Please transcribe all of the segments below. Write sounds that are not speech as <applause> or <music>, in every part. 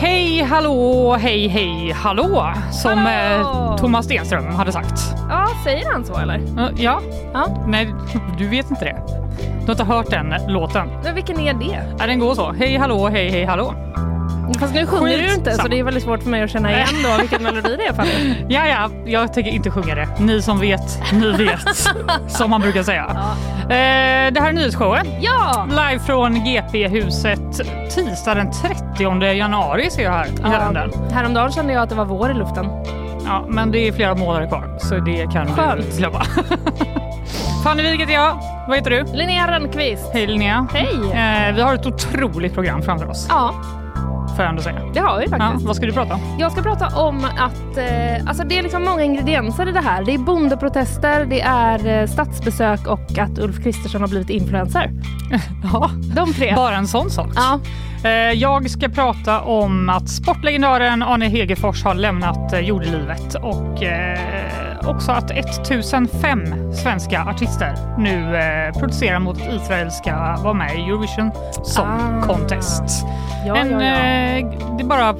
Hej, hallå, hej, hej, hallå, som Hallå! eh, Thomas Stenström hade sagt. Ja, säger han så eller? Eh, ja. Ja. nej, du vet inte det. Du har inte hört den låten. Men vilken är det? Nej, den går så. Hej, hallå, hej, hej, hallå. Fast nu sjunger du inte så Skitsamma. det är väldigt svårt för mig att känna igen då vilken melodi det är. Fanny. Ja, ja, jag tänker inte sjunga det. Ni som vet, ni vet. <laughs> som man brukar säga. Eh, det här är nyhetsshowen. <laughs> Ja! Live från GP-huset tisdag den 30 januari ser jag här i kalendern. Häromdagen kände jag att det var vår i luften. Ja, men det är flera månader kvar så det kan Skönt. du glömma. <laughs> Fanny Wijk heter jag. Vad heter du? Linnea Rönnqvist. Hej Linnea. Hej! Eh, vi har ett otroligt program framför oss Ja, får jag ändå säga. det har vi Ja, faktiskt. vad ska du prata om? Jag ska prata om att eh, alltså det är liksom många ingredienser i det här. Det är bondeprotester, det är eh, statsbesök och att Ulf Kristersson har blivit influencer. Ja, De tre. bara en sån sak. Ja, Eh, jag ska prata om att sportlegendaren Arne Hegerfors har lämnat eh, jordelivet och eh, också att 1005 svenska artister nu eh, protesterar mot att Israel ska vara med i Eurovision Song Ah. Contest. ja, Men ja, ja. eh, det bara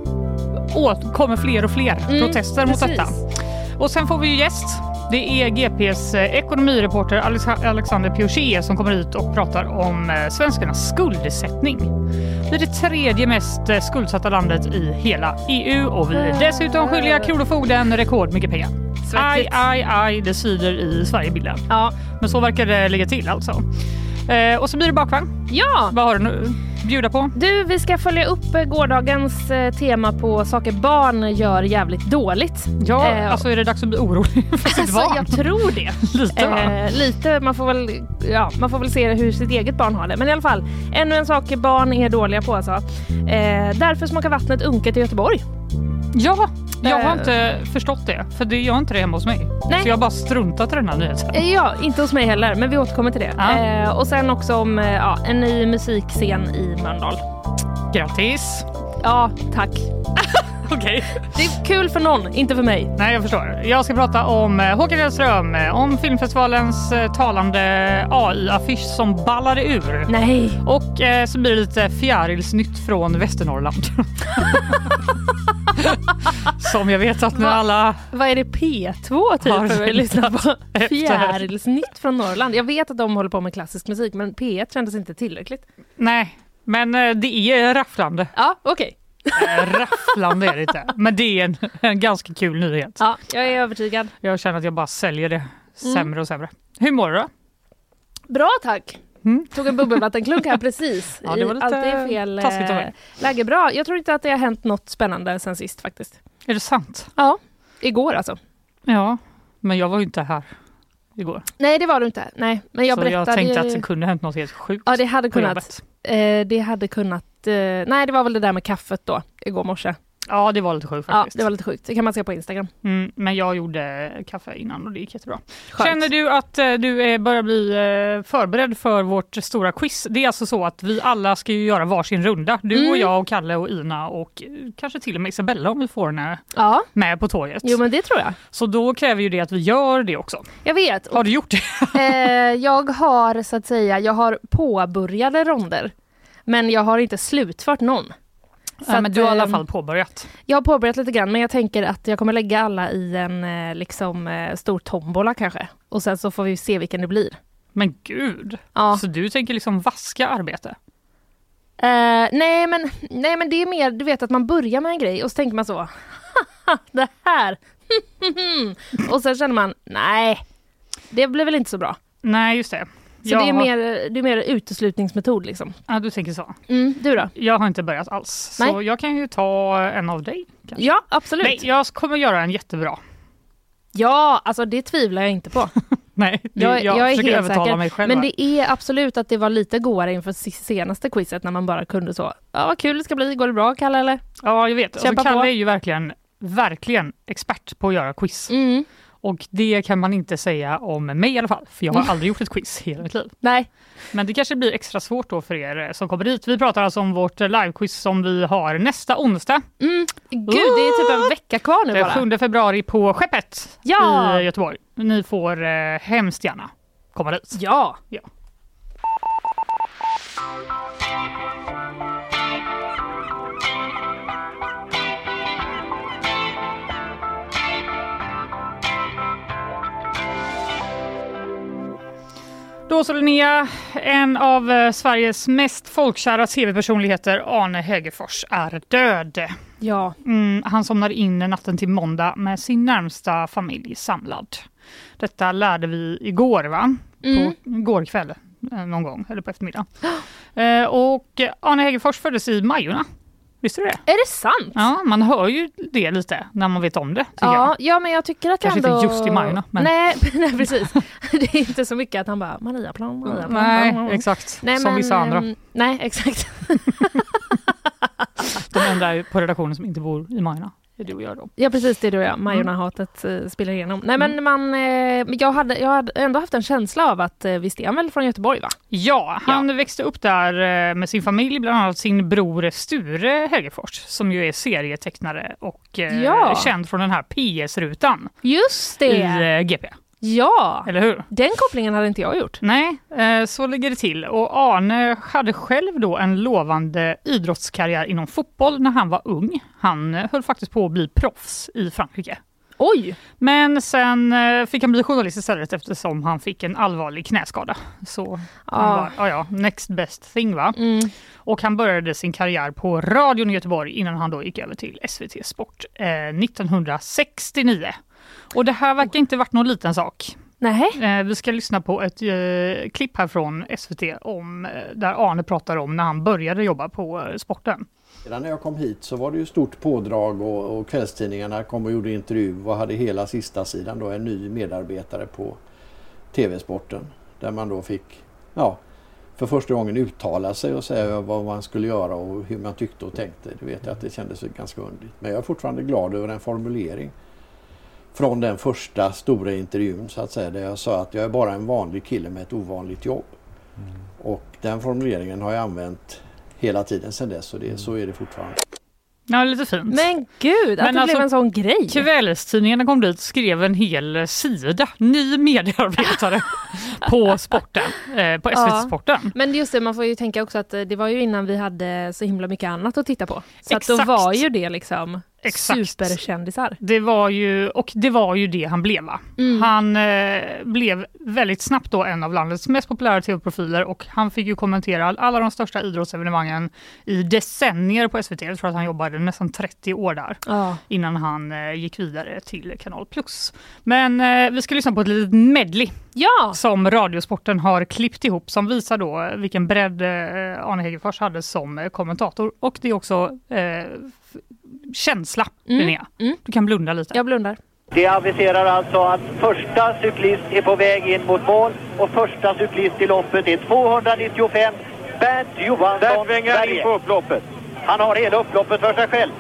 åt- kommer fler och fler protester mot Mm, precis. detta. Och sen får vi ju gäst. Det är GPs eh, ekonomireporter Alex- Alexander Piochet som kommer hit och pratar om eh, svenskarnas skuldsättning. Vi är det tredje mest eh, skuldsatta landet i hela EU och vi är dessutom skyldiga Kronofogden rekordmycket pengar. Aj, Svettigt. aj, aj, det svider i Sverigebilden. Ja. Men så verkar det ligga till alltså. Eh, och så blir det bakvagn. ja, Vad har du nu bjuda på? Du, vi ska följa upp eh, gårdagens eh, tema på saker barn gör jävligt dåligt. Ja, Eh, alltså är det dags att bli orolig <laughs> för sitt Alltså, barn? jag tror det. <laughs> Lite va? Eh, lite, man får, väl, ja, man får väl se hur sitt eget barn har det. Men i alla fall, ännu en sak barn är dåliga på alltså. Eh, därför smakar vattnet unket i Göteborg. Ja, jag har eh. inte förstått det. För det gör inte det hemma hos mig. Nej. Så jag har bara struntat i den här nyheten. Eh, ja, inte hos mig heller, men vi återkommer till det. Ja. Eh, och sen också om eh, ja, en ny musikscen i Mölndal. Grattis! Ja, tack. Okej. Det är kul för någon, inte för mig. Nej, jag förstår. Jag ska prata om eh, Håkan Hellström, eh, om filmfestivalens eh, talande AI-affisch som ballade ur. Nej. Och eh, så blir det lite fjärilsnytt från Västernorrland. <laughs> som jag vet att nu Va? alla... Vad är det P2 typ? Har Har vi lyssnar på efter. Fjärilsnytt från Norrland. Jag vet att de håller på med klassisk musik men P1 kändes inte tillräckligt. Nej, men eh, det är rafflande. Ja, okej. Eh, rafflande är det inte. Men det är en, en ganska kul nyhet. Ja, jag är övertygad. Jag känner att jag bara säljer det Mm. sämre och sämre. Hur mår du då? Bra tack. Mm. Tog en bubbelvattenklunk här precis. <laughs> Ja, det var I- lite Alltid i fel eh, taskigt av mig. läge. Bra. Jag tror inte att det har hänt något spännande sen sist faktiskt. Är det sant? Ja, igår alltså. Ja, men jag var ju inte här igår. Nej, det var du inte. Nej, men jag så berättade jag tänkte ju... att det kunde hänt något helt sjukt. Ja, det hade på kunnat. jobbet. Eh, det hade kunnat att, eh, nej det var väl det där med kaffet då, igår morse. Ja, det var lite sjukt faktiskt. Ja, det var lite sjukt. Det kan man se på Instagram. mm, men jag gjorde kaffe innan och det gick jättebra. Skönt. Känner du att eh, du eh, börjar bli eh, förberedd för vårt stora quiz? Det är alltså så att vi alla ska ju göra varsin runda. Du och Mm. jag och Kalle och Ina och eh, kanske till och med Isabella om vi får henne Ja, med på tåget. jo men det tror jag. Så då kräver ju det att vi gör det också. Jag vet. Har du gjort det? eh, jag har så att säga, jag har påbörjade ronder. Men jag har inte slutfört någon. Så Ja, men att, du har i alla ehm, fall påbörjat. Jag har påbörjat lite grann men jag tänker att jag kommer lägga alla i en eh, liksom, eh, stor tombola kanske. Och sen så får vi se vilken det blir. Men gud! Ja. Så du tänker liksom vaska arbete? Eh, nej, men, nej men det är mer, du vet att man börjar med en grej och så tänker man så. "Haha, det här! <laughs> och sen känner man, nej. Det blev väl inte så bra. Nej, just det. Så Jag det, är har- mer, det är mer uteslutningsmetod liksom. Ja, du tänker så. Mm, du då? Jag har inte börjat alls. Så Nej. jag kan ju ta en av dig. Kanske. Ja, absolut. Nej, jag kommer göra en jättebra. Ja, alltså det tvivlar jag inte <laughs> på. Nej, det, Jag, jag, jag, är försöker helt övertala säker. mig själv. men här. det är absolut att det var lite godare inför si- senaste quizet när man bara kunde så. Ja, vad kul det ska bli. Går det bra Kalle eller? Ja, jag vet. Alltså, Kämpa Kalle på. är ju verkligen, verkligen expert på att göra quiz. Mm. Och det kan man inte säga om mig i alla fall, för jag har aldrig gjort ett quiz i hela mitt liv. Nej. Men det kanske blir extra svårt då för er som kommer dit. Vi pratar alltså om vårt livequiz som vi har nästa onsdag. Mm. Gud, det är typ en vecka kvar nu bara. Den 7 februari på Skeppet Ja! i Göteborg. Ni får eh, hemskt gärna komma dit. Ja! Ja. Då så Linnea, en av eh, Sveriges mest folkkära tv-personligheter, Arne Hegerfors, är död. Ja. Mm, han somnade in natten till måndag med sin närmsta familj samlad. Detta lärde vi igår, va? Mm. På igår kväll eh, någon gång, eller på eftermiddagen. Eh, och eh, Arne Hegerfors föddes i Majorna. Visste du det? Är det sant? Ja, man hör ju det lite när man vet om det. tycker Ja, jag. ja, men jag tycker att jag Kanske inte ändå... just i Majorna, men- Nej, <laughs> nej, precis. det är inte så mycket att han bara Mariaplan, Mariaplan. Nej, exakt. Mm. Nej, som men, vissa andra. ehm, Nej, <laughs> exakt. De enda på redaktionen som inte bor i Majorna. Det är du och jag då. Ja, precis det är då jag. Majorna-hatet eh, spelar igenom. Nej, men man, eh, men jag, hade, jag hade ändå haft en känsla av att eh, visst är han väl från Göteborg, va? Ja, han växte upp där eh, med sin familj, bland annat sin bror Sture Hägerfors som ju är serietecknare och eh, Ja. känd från den här PS-rutan Just i det! eh, GP. Ja! Eller hur? Den kopplingen hade inte jag gjort. Nej, eh, så ligger det till. Och Arne hade själv då en lovande idrottskarriär inom fotboll när han var ung. Han eh, höll faktiskt på att bli proffs i Frankrike. Oj! Men sen eh, fick han bli journalist istället eftersom han fick en allvarlig knäskada. Så han Ah. var, ja, ja, next best thing va. Mm. Och han började sin karriär på radion i Göteborg innan han då gick över till SVT Sport eh, 1969. Och det här verkar inte varit någon liten sak. Nej. Eh, vi ska lyssna på ett eh, klipp här från SVT om, eh, där Arne pratar om när han började jobba på eh, sporten. Redan när jag kom hit så var det ju stort pådrag och, och kvällstidningarna kom och gjorde intervju och hade hela sista sidan då en ny medarbetare på TV-sporten där man då fick ja, för första gången uttala sig och säga vad man skulle göra och hur man tyckte och tänkte. Det vet jag att det kändes ju ganska underligt. Men jag är fortfarande glad över en formulering från den första stora intervjun så att säga där jag sa att jag är bara en vanlig kille med ett ovanligt jobb. Och den formuleringen har jag använt hela tiden sedan dess och det, så är det fortfarande. Ja, lite fint. Mm. Men gud, att Men det alltså- blev en sån grej. Kvällstidningarna kom dit skrev en hel eh, sida, <laughs> ny medarbetare på sporten, eh, på Ja. SVT-sporten. Men just det, man får ju tänka också att eh, det var ju innan vi hade så himla mycket annat att titta på. Så att då Exakt. var ju det liksom Exakt. superkändisar. Det var ju, och det var ju det han blev. Va? Mm. Han eh, blev väldigt snabbt då en av landets mest populära tv-profiler och han fick ju kommentera all- alla de största idrottsevenemangen i decennier på SVT. Jag tror att han jobbade nästan 30 år där Ja. innan han eh, gick vidare till Kanal Plus. Men eh, vi ska lyssna på ett litet medley Ja! som Radiosporten har klippt ihop som visar då eh, vilken bredd eh, Arne Hegerfors hade som eh, kommentator och det är också eh, f- känsla, Mm. Linnea. Du kan blunda lite. Jag blundar. Det aviserar alltså att första cyklist är på väg in mot mål och första cyklist i loppet är 295 Bernt Johansson Där svänger han in Berge. på upploppet. Han har hela upploppet för sig själv.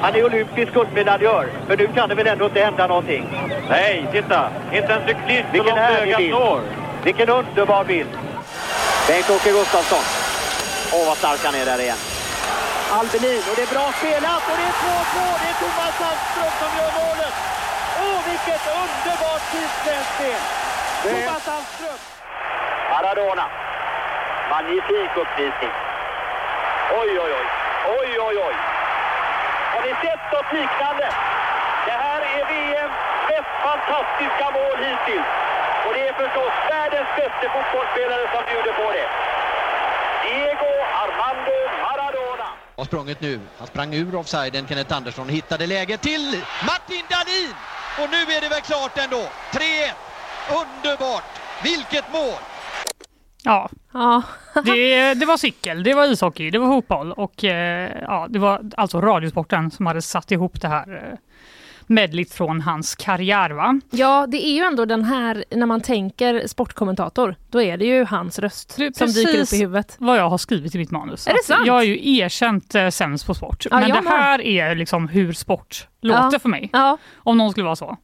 Han är olympisk guldmedaljör, men nu kan det väl ändå inte hända någonting. Nej, titta! Inte en cyklist så Vilken långt härlig ögat bild. når. Vilken underbar bild. Bengt-Åke Gustafsson. Åh, vad stark han är där igen. Albinin, och det är bra spelat och det är 2-2. Det är Thomas Sandström som gör målet. Åh, vilket underbart fint svenskt spel. Thomas Sandström. Maradona. Magnifik uppvisning. Oj, oj, oj. Oj, oj, oj. Har ni sett något liknande? Det här är VMs mest fantastiska mål hittills. Och det är förstås världens bästa fotbollsspelare som bjuder på det. Diego Armando Maradona. har sprungit nu. Han sprang ur offsiden, Kenneth Andersson hittade läge till Martin Dahlin! Och nu är det väl klart ändå. 3-1. Underbart! Vilket mål! Ja, Ja. det, det var cykel, det var ishockey, det var fotboll och eh, ja, det var alltså Radiosporten som hade satt ihop det här eh, medligt från hans karriär va? ja, det är ju ändå den här, när man tänker sportkommentator, då är det ju hans röst Du, som dyker upp i precis. huvudet. Vad jag har skrivit i mitt manus. Är det Att sant? Jag är ju erkänt eh, sämst på sport. Ja, men jag det här är liksom hur sport låter för mig. Ja, Om någon skulle vara så.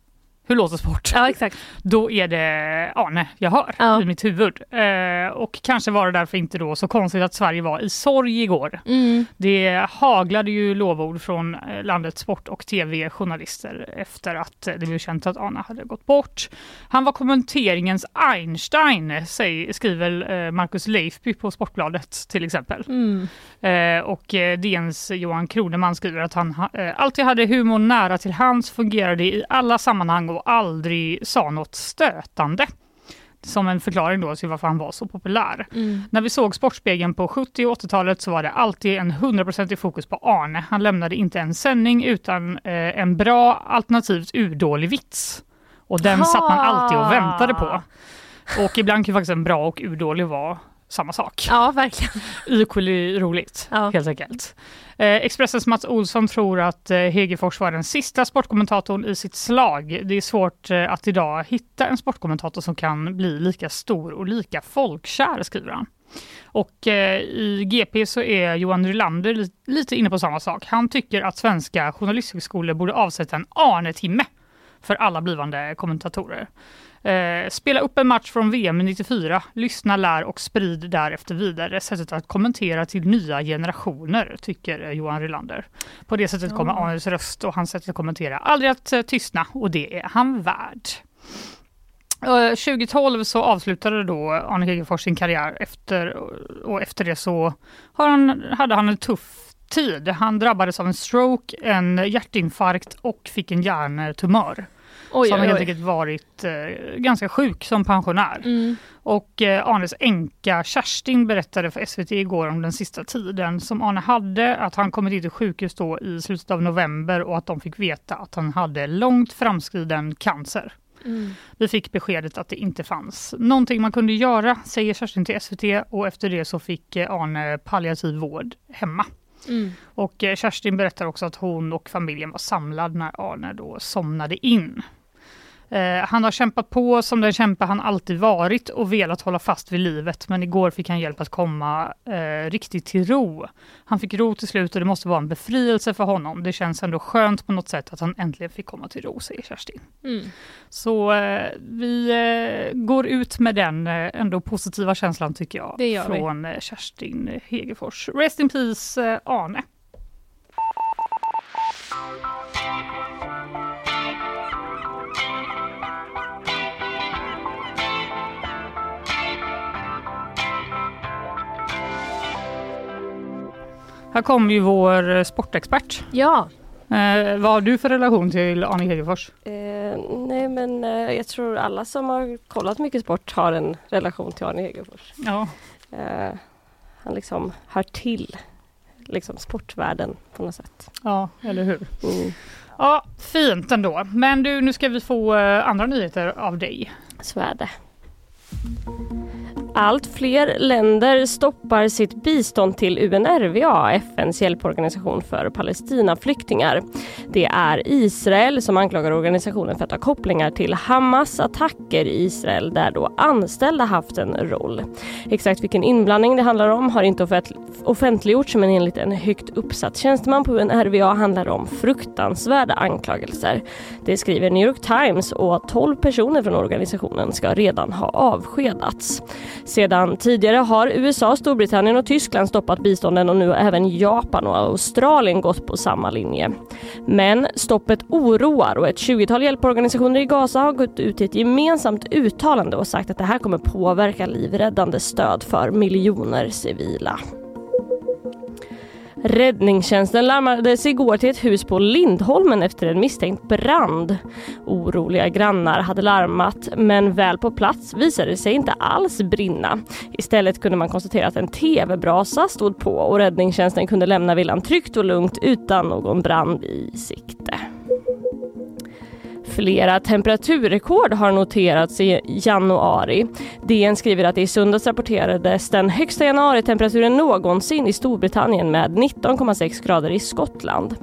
Hur låter sport? ja exakt. <laughs> Då är det Arne jag hör Ja. i mitt huvud. Eh, och kanske var det därför inte då så konstigt att Sverige var i sorg igår. Mm. Det haglade ju lovord från eh, landets sport och tv-journalister efter att eh, det blev känt att Arne hade gått bort. Han var kommenteringens Einstein, säg, skriver eh, Marcus Leifby på Sportbladet till exempel. Mm. Eh, och eh, DNs Johan Kroneman skriver att han ha- eh, alltid hade humorn nära till hands, fungerade i alla sammanhang och aldrig sa något stötande. Som en förklaring då till varför han var så populär. När vi såg Sportspegeln på 70 och 80-talet så var det alltid en 100% fokus på Arne. Han lämnade inte en sändning utan eh, en bra alternativt urdålig vits. Och den satt man alltid och väntade på. Och ibland kan ju faktiskt en bra och urdålig vara samma sak Ja, verkligen. equally roligt, Ja. helt enkelt. Eh, Expressens Mats Olsson tror att eh, Hegerfors var den sista sportkommentatorn i sitt slag. Det är svårt eh, att idag hitta en sportkommentator som kan bli lika stor och lika folkkär, skriver han. Och eh, i GP så är Johan Rylander li- lite inne på samma sak. Han tycker att svenska journalisthögskolor borde avsätta en Arne-timme för alla blivande kommentatorer. Eh, spela upp en match från VM 94, lyssna, lär och sprid därefter vidare sättet att kommentera till nya generationer, tycker eh, Johan Rylander. På det sättet kommer Arnes röst och hans sätt att kommentera aldrig att eh, tystna och det är han värd. Eh, 2012 så avslutade då Arne Hegerfors sin karriär efter, eh, och efter det så har han, hade han en tuff tid. Han drabbades av en stroke, en hjärtinfarkt och fick en hjärntumör. Oj, Så han har oj, helt oj. enkelt varit eh, ganska sjuk som pensionär. Mm. Och eh, Arnes änka Kerstin berättade för SVT igår om den sista tiden som Arne hade, att han kommit in till sjukhus då i slutet av november och att de fick veta att han hade långt framskriden cancer. Mm. Vi fick beskedet att det inte fanns någonting man kunde göra, säger Kerstin till SVT och efter det så fick eh, Arne palliativ vård hemma. Och eh, Kerstin berättar också att hon och familjen var samlad när Arne då somnade in. Eh, Han har kämpat på som den kämpe han alltid varit och velat hålla fast vid livet men igår fick han hjälp att komma eh, riktigt till ro. Han fick ro till slut och det måste vara en befrielse för honom. Det känns ändå skönt på något sätt att han äntligen fick komma till ro, säger Kerstin. Mm. Så eh, vi eh, går ut med den eh, ändå positiva känslan tycker jag Det gör vi. från eh, Kerstin Hegerfors. Rest in peace eh, Arne. Här kommer ju vår eh, sportexpert. Ja, Eh, vad har du för relation till Arne Hegerfors? Eh, nej men eh, jag tror alla som har kollat mycket sport har en relation till Arne Hegerfors. Ja. Eh, han liksom hör till liksom sportvärlden på något sätt. ja, eller hur? Mm. Ja, fint ändå. Men du, nu ska vi få eh, andra nyheter av dig. Så är det. Allt fler länder stoppar sitt bistånd till UNRWA, FNs hjälporganisation för Palestinaflyktingar. Det är Israel som anklagar organisationen för att ha kopplingar till Hamas attacker i Israel där då anställda haft en roll. Exakt vilken inblandning det handlar om har inte offent- offentliggjorts men enligt en högt uppsatt tjänsteman på UNRWA handlar det om fruktansvärda anklagelser. Det skriver New York Times och 12 personer från organisationen ska redan ha avskedats. Sedan tidigare har USA, Storbritannien och Tyskland stoppat bistånden och nu har även Japan och Australien gått på samma linje. Men stoppet oroar och ett 20-tal hjälporganisationer i Gaza har gått ut i ett gemensamt uttalande och sagt att det här kommer påverka livräddande stöd för miljoner civila. Räddningstjänsten larmades igår till ett hus på Lindholmen efter en misstänkt brand. Oroliga grannar hade larmat men väl på plats visade det sig inte alls brinna. Istället kunde man konstatera att en tv-brasa stod på och räddningstjänsten kunde lämna villan tryggt och lugnt utan någon brand i sikte. Flera temperaturrekord har noterats i januari. DN skriver att i söndags rapporterades den högsta januaritemperaturen någonsin i Storbritannien med 19,6 grader i Skottland.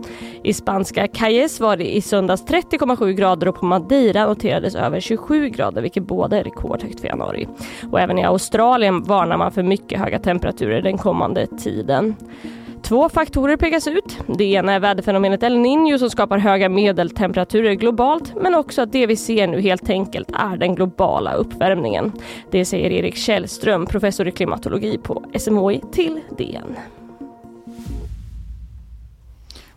I spanska Calles var det i söndags 30,7 grader och på Madeira noterades över 27 grader vilket båda är rekordhögt för januari. Och även i Australien varnar man för mycket höga temperaturer den kommande tiden. Två faktorer pekas ut. Det ena är väderfenomenet El Niño som skapar höga medeltemperaturer globalt men också att det vi ser nu helt enkelt är den globala uppvärmningen. Det säger Erik Källström, professor i klimatologi på SMHI till DN.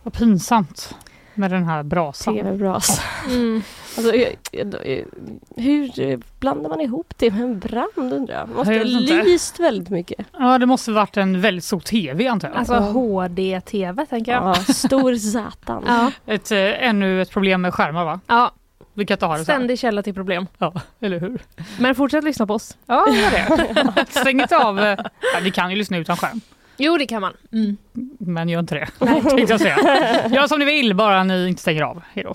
Vad pinsamt med den här brasan. TV-brasa. Mm. Alltså, jag- jag- hur blandar man ihop det med en brand undrar jag? Måste Jag ha vet inte. lyst väldigt mycket. Ja, det måste varit en väldigt stor TV antar jag. Alltså HD-TV tänker jag. Ja, stor Zatan. Ja, Ett, eh, ännu ett problem med skärmar va? ja. Vi kan inte ha det så här. ständig källa till problem. Ja, eller hur? <laughs> Men fortsätt lyssna på oss. Ja, gör det. Stäng inte av. eh, Ja, vi kan ju lyssna utan skärm, Jo, det kan man. Mm. men gör inte det. Tänkte jag säga. Gör som ni vill, bara ni inte stänger av. Hejdå.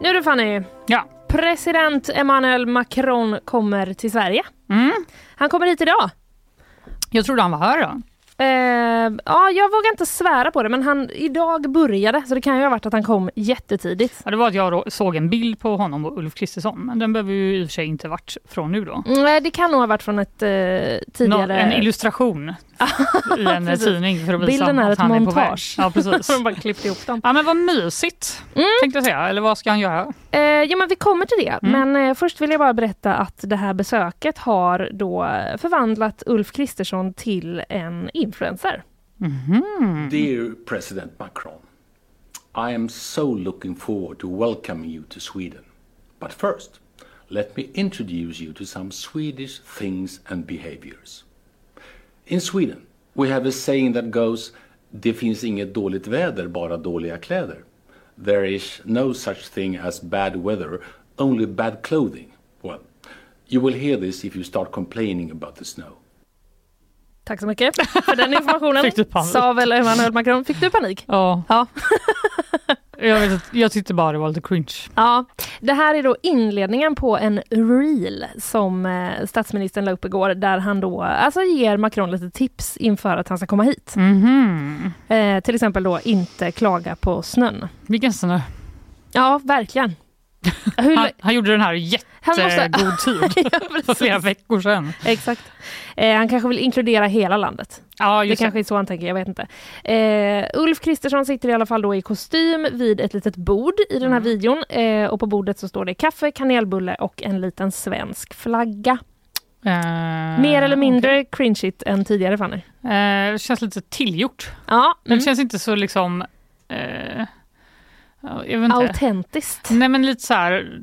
Nu du Fanny. Ja. President Emmanuel Macron kommer till Sverige. Mm. Han kommer hit idag. Jag trodde han var här då. Eh, ja, jag vågar inte svära på det, men han, idag började, så det kan ju ha varit att han kom jättetidigt. Ja, det var att jag då såg en bild på honom och Ulf Kristersson, men den behöver ju i och för sig inte varit från nu då. Nej, det kan nog ha varit från ett eh, Nå, tidigare... en illustration i <laughs> en precis. tidning för att visa Bilden är att ett han är på väg. montage. Ja, <laughs> precis. De bara klippte ihop dem. Mm. Ja men vad mysigt tänkte jag säga, eller vad ska han göra? Eh, ja, men vi kommer till det. Mm. Men eh, först vill jag bara berätta att det här besöket har då förvandlat Ulf Kristersson till en influencer. Dear President Macron, I am so looking forward to welcoming you to Sweden. But first, let me introduce you to some Swedish things and behaviors. In Sweden, we have a saying that goes, Det finns inget dåligt väder, bara dåliga kläder. There is no such thing as bad weather, only bad clothing. Well, you will hear this if you start complaining about the snow. Tack så mycket för <laughs> den informationen. Fick du panik? Sa väl Emmanuel Macron. Fick du panik? Ja, Ja. <laughs> jag, vet, inte, jag tyckte bara det var lite cringe. ja. Det här är då inledningen på en reel som eh, statsministern la upp igår där han då alltså ger Macron lite tips inför att han ska komma hit. Mhm. Eh, till exempel då inte klaga på snön. Vilken snö. Ja, verkligen. <laughs> Hur, Han, han gjorde den här i Han måste- jättegod tid Ja, för precis. flera veckor sedan. <laughs> Exakt. Eh, han kanske vill inkludera hela landet. Ja, Det just det. kanske är så han tänker, jag vet inte. Eh, Ulf Kristersson sitter i alla fall då i kostym vid ett litet bord i den Mm. här videon. Eh, och på bordet så står det kaffe, kanelbulle och en liten svensk flagga. Eh, Mer eller mindre cringeigt än tidigare Fanny. eh, det känns lite tillgjort. Ja, Men mm. det känns inte så liksom... Eh, ja, jag vet inte. Mm. autentiskt. Nej men lite så här,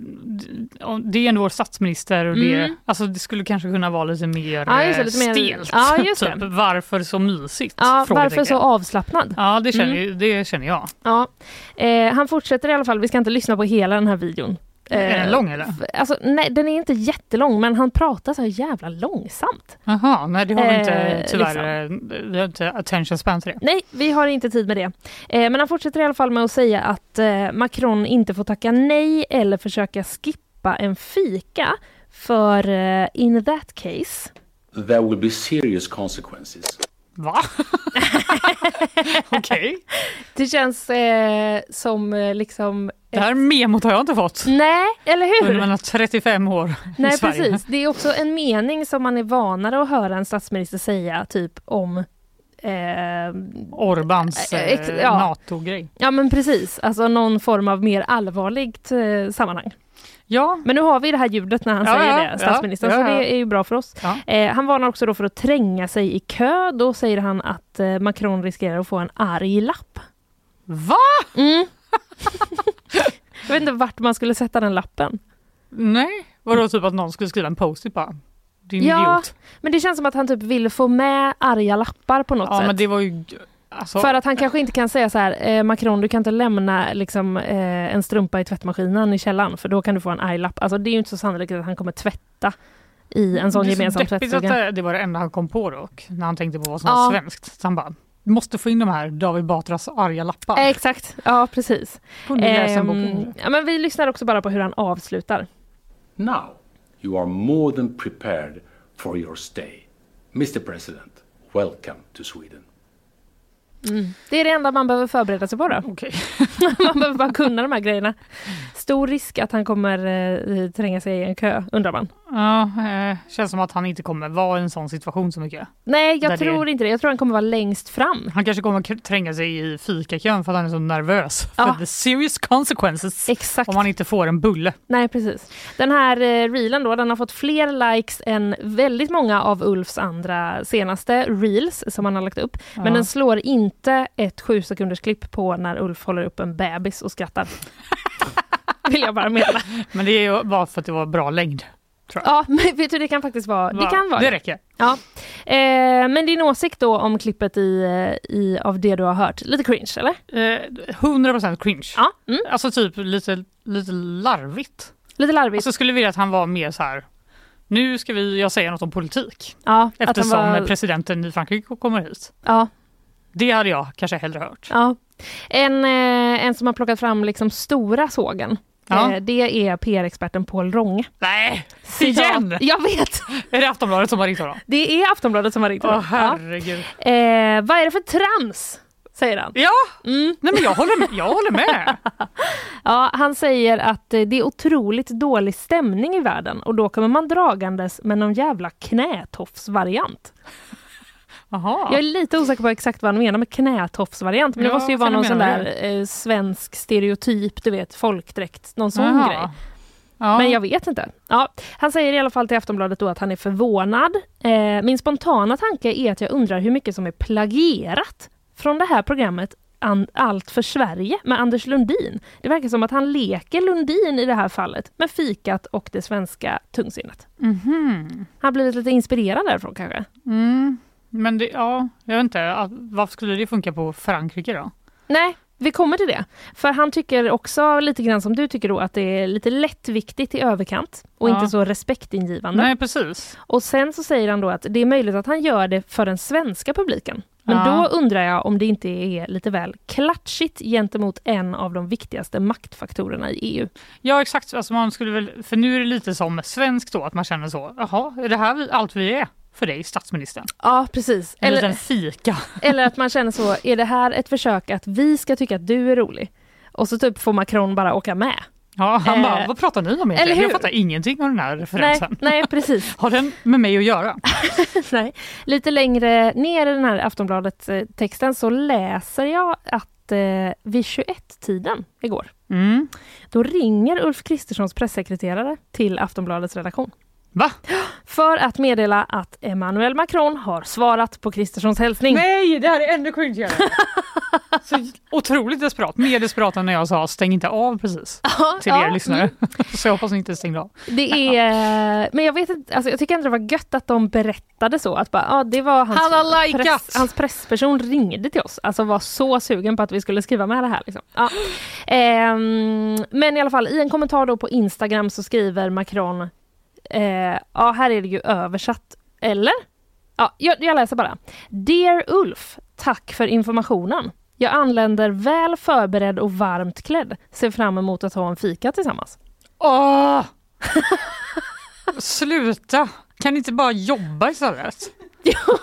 det är ändå vår statsminister och det, Mm. alltså, det skulle kanske kunna vara lite mer, Ja, just det, eh, lite mer- stelt. ja, just det. typ, varför så mysigt? Ja, varför Frågetecken. så Mm. avslappnad? Ja, det känner, ju- det känner jag. Ja. Eh, han fortsätter i alla fall, vi ska inte lyssna på hela den här videon. Eh, Är den lång, eller? f- Alltså, nej, den är inte jättelång men han pratar så här jävla långsamt. Jaha, nej det har vi inte Eh, tyvärr. eh, Vi har inte attention span till det. Nej, vi har inte tid med det. Eh, men han fortsätter i alla fall med att säga att eh, Macron inte får tacka nej eller försöka skippa en fika för eh, in that <laughs> case There will be serious consequences. <laughs> Va? Okej. Det känns eh, som eh, liksom... eh, Det här memot har jag inte fått. Nej, eller hur? Under mina 35 år i Nej, Sverige. precis. Det är också en mening som man är vanare att höra en statsminister säga, typ om... Eh, Orbans Eh, ex- eh, ja. NATO-grej. ja, men precis. Alltså någon form av mer allvarligt eh, sammanhang. Ja, Men nu har vi det här ljudet när han Ja, säger ja, ja, det, statsministern, ja, så ja. det är ju bra för oss. Ja. Eh, han varnar också då för att tränga sig i kö. Då säger han att eh, Macron riskerar att få en arg lapp. Va? Mm. Jag vet inte vart man skulle sätta den lappen. Nej, vadå typ att någon skulle skriva en post-it bara? Din Ja, idiot. men det känns som att han typ vill få med arga lappar på något Ja, sätt. men det var ju... Alltså, För att han kanske inte kan säga så här, eh, Macron du kan inte lämna liksom, eh, en strumpa i tvättmaskinen i källaren för då kan du få en arg lapp. Alltså det är ju inte så sannolikt att han kommer tvätta i en sån Mm, det är så gemensam deppigt att tvättstuga. det- Det var det enda han kom på dock, när han tänkte på vad som Ja. var svenskt. Så han bara, måste få in de här David Batras arga lappar. Eh, Exakt, ja precis. Kunde läsa en bok Ehm, om det. ja, men vi lyssnar också bara på hur han avslutar. Now you are more than prepared for your stay. Mr. President, welcome to Sweden. Det är det enda man behöver förbereda sig på då. Okej. <laughs> man behöver bara kunna de här grejerna. Stor risk att han kommer eh, tränga sig i en kö, undrar man. Ja, eh, känns som att han inte kommer vara i en sån situation så mycket. Nej, jag Där det- tror inte det. Jag tror han kommer vara längst fram. Han kanske kommer k- tränga sig i fikakön för att han är så nervös. Ja. För the serious consequences Exakt. om han inte får en bulle. Nej, precis. Den här eh, reelen då, den har fått fler likes än väldigt många av Ulfs andra senaste reels som han har lagt upp. Men den slår inte ett sju sekunders klipp på när Ulf håller upp en bebis och <laughs> skrattar. Vill jag bara meddela. Men det är ju bara för att det var bra längd. Ja, men vet du, det kan faktiskt vara... Det Va? kan vara det räcker. Ja. Eh, men din åsikt då om klippet i, eh, i, av det du har hört, lite cringe eller? Eh, 100% cringe. Ja, mm. Alltså typ lite, lite larvigt. lite larvigt. Alltså skulle vilja att han var mer så här. Nu ska vi, jag säga något om politik. ja, att han Eftersom var- presidenten i Frankrike kommer hit. ja, Det hade jag kanske hellre hört. Ja. En, eh, en som har plockat fram liksom stora sågen. Ja. Eh, det är PR-experten Paul Ronge. <laughs> Nej, <laughs> igen! Jag vet! Är det Aftonbladet som har ringt honom? Det är Aftonbladet som har ringt Åh honom. ja. herregud. eh, Vad är det för trams? Säger han. Mm. Ja, nej men jag håller med. Jag <laughs> håller med. Ja, han säger att eh, det är otroligt dålig stämning i världen och då kommer man dragandes med någon jävla knätofsvariant. Jaha. Jag är lite osäker på exakt vad han menar med knätofsvariant, men det Ja, måste ju vad vara kan någon du sån mena med där eh, svensk stereotyp, du vet, folkdräkt, någon sån Jaha. grej. Ja. Men jag vet inte. Ja, han säger i alla fall till Aftonbladet då att han är förvånad. Eh, min spontana tanke är att jag undrar hur mycket som är plagierat från det här programmet An- Allt för Sverige med Anders Lundin. Det verkar som att han leker Lundin i det här fallet med fikat och det svenska tungsinnet. Mhm. Han har blivit lite inspirerad därifrån kanske. Men det, ja, jag vet inte. att- Varför skulle det funka på Frankrike då? Nej, vi kommer till det. För han tycker också lite grann som du tycker då att det är lite lättviktigt i överkant och Ja. inte så respektingivande. Nej, precis. Och sen så säger han då att det är möjligt att han gör det för den svenska publiken. Men Ja. då undrar jag om det inte är lite väl klatschigt gentemot en av de viktigaste maktfaktorerna i E EU. Ja, exakt. Alltså man skulle väl, för nu är det lite som svensk då, att man känner så. Jaha, är det här vi, allt vi är för dig, statsministern? Ja, precis. En liten Eller, fika. eller att man känner så, är det här ett försök att vi ska tycka att du är rolig? Och så typ får Macron bara åka med. Ja, han Eh, bara, vad pratar ni om eller egentligen? hur? Jag fattar ingenting om den här Nej, referensen. <laughs> nej, precis. Har den med mig att göra? Nej. Lite längre ner i den här Aftonbladet-texten så läser jag att eh, vid 21-tiden igår, Mm. då ringer Ulf Kristerssons pressekreterare till Aftonbladets redaktion. Va? För att meddela att Emmanuel Macron har svarat på Kristerssons hälsning. Nej, det här är ännu cringeigare. <laughs> Så otroligt desperat. Mer desperat än när jag sa stäng inte av precis. Till er ja, lyssnare. <laughs> Så jag hoppas ni inte stängde av. Det är, men jag vet inte, alltså jag tycker ändå det var gött att de berättade så. Att bara, ja, det var hans, Han har likat! press, hans pressperson ringde till oss, alltså var så sugen på att vi skulle skriva med det här. Liksom. Ja. Ehm, men i alla fall, i en kommentar då på Instagram så skriver Macron, eh, ja här är det ju översatt, eller? Ja, jag, jag läser bara. Dear Ulf, tack för informationen. Jag anländer väl förberedd och varmt klädd. Ser fram emot att ha en fika tillsammans. Åh! Sluta! Kan ni inte bara jobba istället?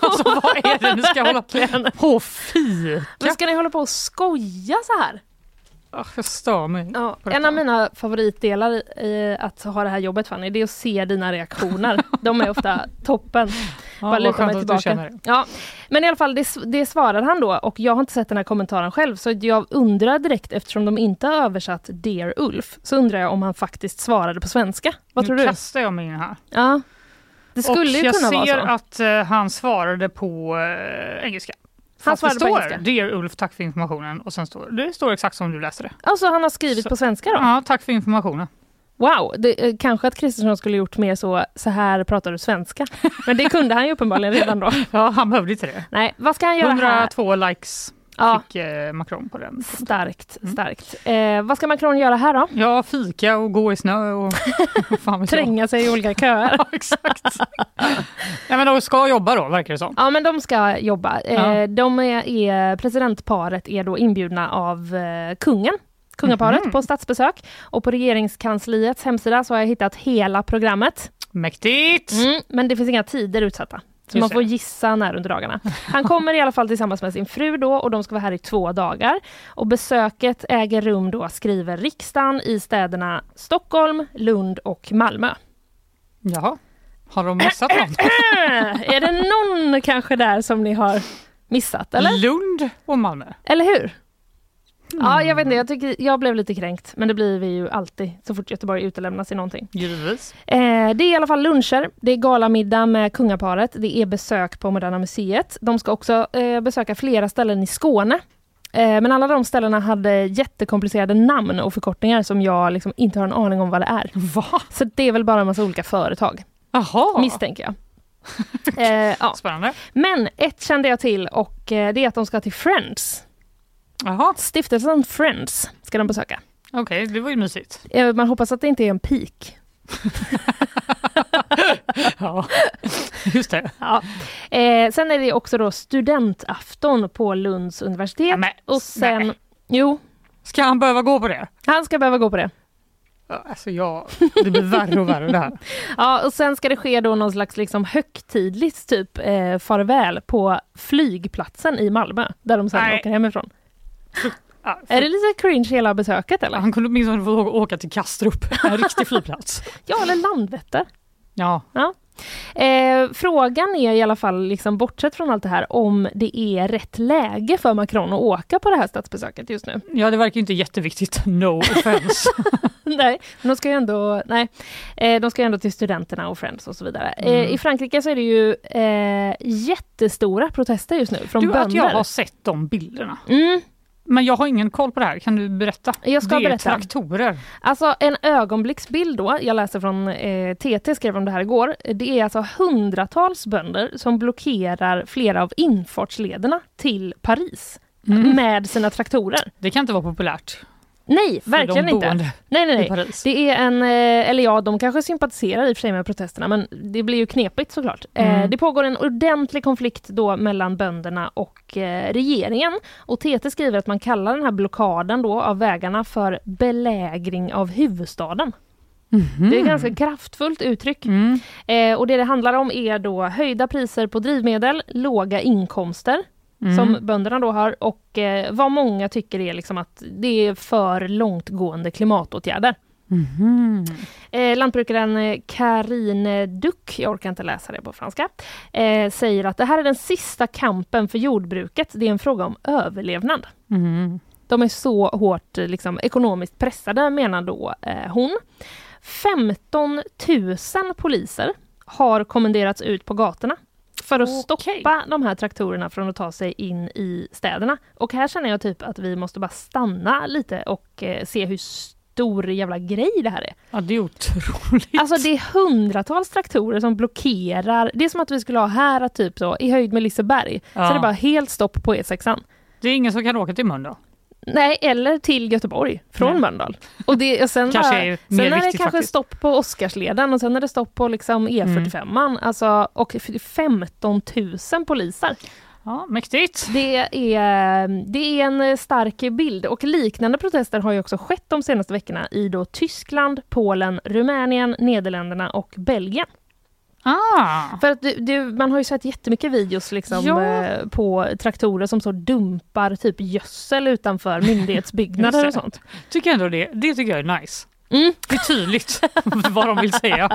alltså vad är det ni ska hålla på på och fika? Men ska ni hålla på och skoja så här? Ah, Jag stör mig. Ja, På en detta. av mina favoritdelar i att ha det här jobbet Fanny, det är att se dina <laughs> reaktioner. De är ofta toppen. Bara Ja, vad luta mig skönt att du tillbaka. känner det. Ja, men i alla fall, det, s- det svarar han då och jag har inte sett den här kommentaren själv så jag undrar direkt eftersom de inte har översatt Dear Ulf så undrar jag om han faktiskt svarade på svenska. Vad tror nu du? kastar jag mig in här. Ja. Det skulle och ju jag kunna vara ser så. att eh, han svarade på eh, engelska. För Han att det svarade på står engelska. Dear Ulf, tack för informationen. Och sen står det står exakt som du läste det. Alltså han har skrivit Så- på svenska då? Ja, tack för informationen. Wow, det, eh, kanske att Kristersson skulle gjort mer så, så här pratar du svenska. Men det kunde han ju uppenbarligen redan då. Ja, han behövde inte det. <laughs> Nej, vad ska han göra här? 102 likes Ja, fick eh, Macron på den. starkt, starkt. Eh, vad ska Macron göra här då? Ja, fika och gå i <laughs> snö och... och fan vet jag. Tränga sig i olika köer. Ja, <laughs> exakt. Nej, men de ska jobba då, verkar det som. <laughs> Ja, men de ska jobba. Eh, Ja. De är, är, presidentparet är då inbjudna av eh, kungen, kungaparet, på statsbesök. Och på regeringskansliets hemsida så har jag hittat hela programmet. Mäktigt! Mm, men det finns inga tider utsatta. Så Just man får det. gissa när under <laughs> dagarna. Han kommer i alla fall tillsammans med sin fru då och de ska vara här i två dagar. Och besöket äger rum då, skriver riksdagen, i städerna Stockholm, Lund och <laughs> Malmö. Jaha, har de missat något? är det någon kanske där som ni har missat <clears throat> Mm. eller? Lund och Malmö. Eller hur? Ja, jag vet Mm. inte. Jag, tycker, jag blev lite kränkt, men det blir vi ju alltid så fort Göteborg utelämnas i någonting. Givetvis. Eh, det är i alla fall luncher, det är galamiddag med kungaparet, det är besök på Moderna Museet. De ska också eh, besöka flera ställen i Skåne. Eh, men alla de ställena hade jättekomplicerade namn och förkortningar som jag liksom inte har en aning om vad det är. Va? Så det är väl bara en massa olika företag, Jaha, misstänker jag. Eh, ja. spännande. Men ett kände jag till och eh, det är att de ska till Friends. Jaha, Stiftelsen Friends ska de besöka. okej, det var ju mysigt. <laughs> Eh, Man hoppas att det inte är en pik. Ja, just det. Ja. Eh, sen är det också då studentafton på Lunds universitet. Nej, men, och sen... nej. Jo, Ska han behöva gå på det? han ska behöva gå på det. Ja, Alltså jag, det blir värre och värre det här. Ja, och sen ska det ske då någon slags liksom högtidligt typ eh, farväl på flygplatsen i Malmö, där de sen Nej. åker hemifrån. Ja, <laughs> Är det lite cringe hela besöket eller? Han kunde åtminstone få åka till Kastrup, en riktig flygplats. Ja, eller Landvetter. Ja, Eh, frågan är i alla fall, liksom, bortsett från allt det här, om det är rätt läge för Macron att åka på det här statsbesöket just nu. ja det verkar ju inte jätteviktigt. <laughs> <laughs> No offense. nej, men de ska ju ändå, nej, eh, de ska ju ändå till studenterna och Friends och så vidare. Mm. Eh, I Frankrike så är det ju eh, jättestora protester just nu från Du, bönder. att jag har sett de bilderna. mm, Men jag har ingen koll på det här, kan du berätta? Jag ska det är berätta. traktorer. alltså en ögonblicksbild då, jag läser från eh, TT, skrev om det här igår. Det är alltså hundratals bönder som blockerar flera av infartslederna till Paris Mm. med sina traktorer. Det kan inte vara populärt. Nej, de verkligen inte. boende Nej, nej, i nej. Paris. Det är en, eh, eller ja, de kanske sympatiserar i och för sig med protesterna, men det blir ju knepigt såklart. Eh, Det pågår en ordentlig konflikt då mellan bönderna och eh, regeringen. Och TT skriver att man kallar den här blockaden då av vägarna för belägring av huvudstaden. Det är ett ganska kraftfullt uttryck. Eh, och det det handlar om är då höjda priser på drivmedel, låga inkomster som bönderna då har och eh, vad många tycker är liksom att det är för långtgående klimatåtgärder. Eh, lantbrukaren eh, Karine Duck, jag orkar inte läsa det på franska, eh, säger att det här är den sista kampen för jordbruket. Det är en fråga om överlevnad. De är så hårt eh, liksom, ekonomiskt pressade menar då eh, hon. 15 000 poliser har kommenderats ut på gatorna för att stoppa de här traktorerna från att ta sig in i städerna. Och här känner jag typ att vi måste bara stanna lite och eh, se hur stor jävla grej det här är. Ja, det är otroligt. Alltså det är hundratals traktorer som blockerar. Det är som att vi skulle ha här att typ så, i höjd med Liseberg. Ja. Så det är bara helt stopp på E6an. Det är ingen som kan åka till Mölndal. Nej, eller till Göteborg Nej. från Mölndal. Och det, och sen Kanske bara, är ju sen mer är det viktigt kanske faktiskt. stopp på Oscarsleden och sen är det stopp på liksom E45. Mm. Alltså, och f- 15 000 poliser. Ja, mäktigt. Det är, det är en stark bild och liknande protester har ju också skett de senaste veckorna i då Tyskland, Polen, Rumänien, Nederländerna och Belgien. Ah. För att du, du, man har ju sett jättemycket videos liksom, Ja. eh, på traktorer som så dumpar typ gödsel <laughs> utanför myndighetsbyggnader och sånt. Tycker ändå det. Det tycker jag är nice. Mm. Det är tydligt <laughs> vad de <laughs> vill säga.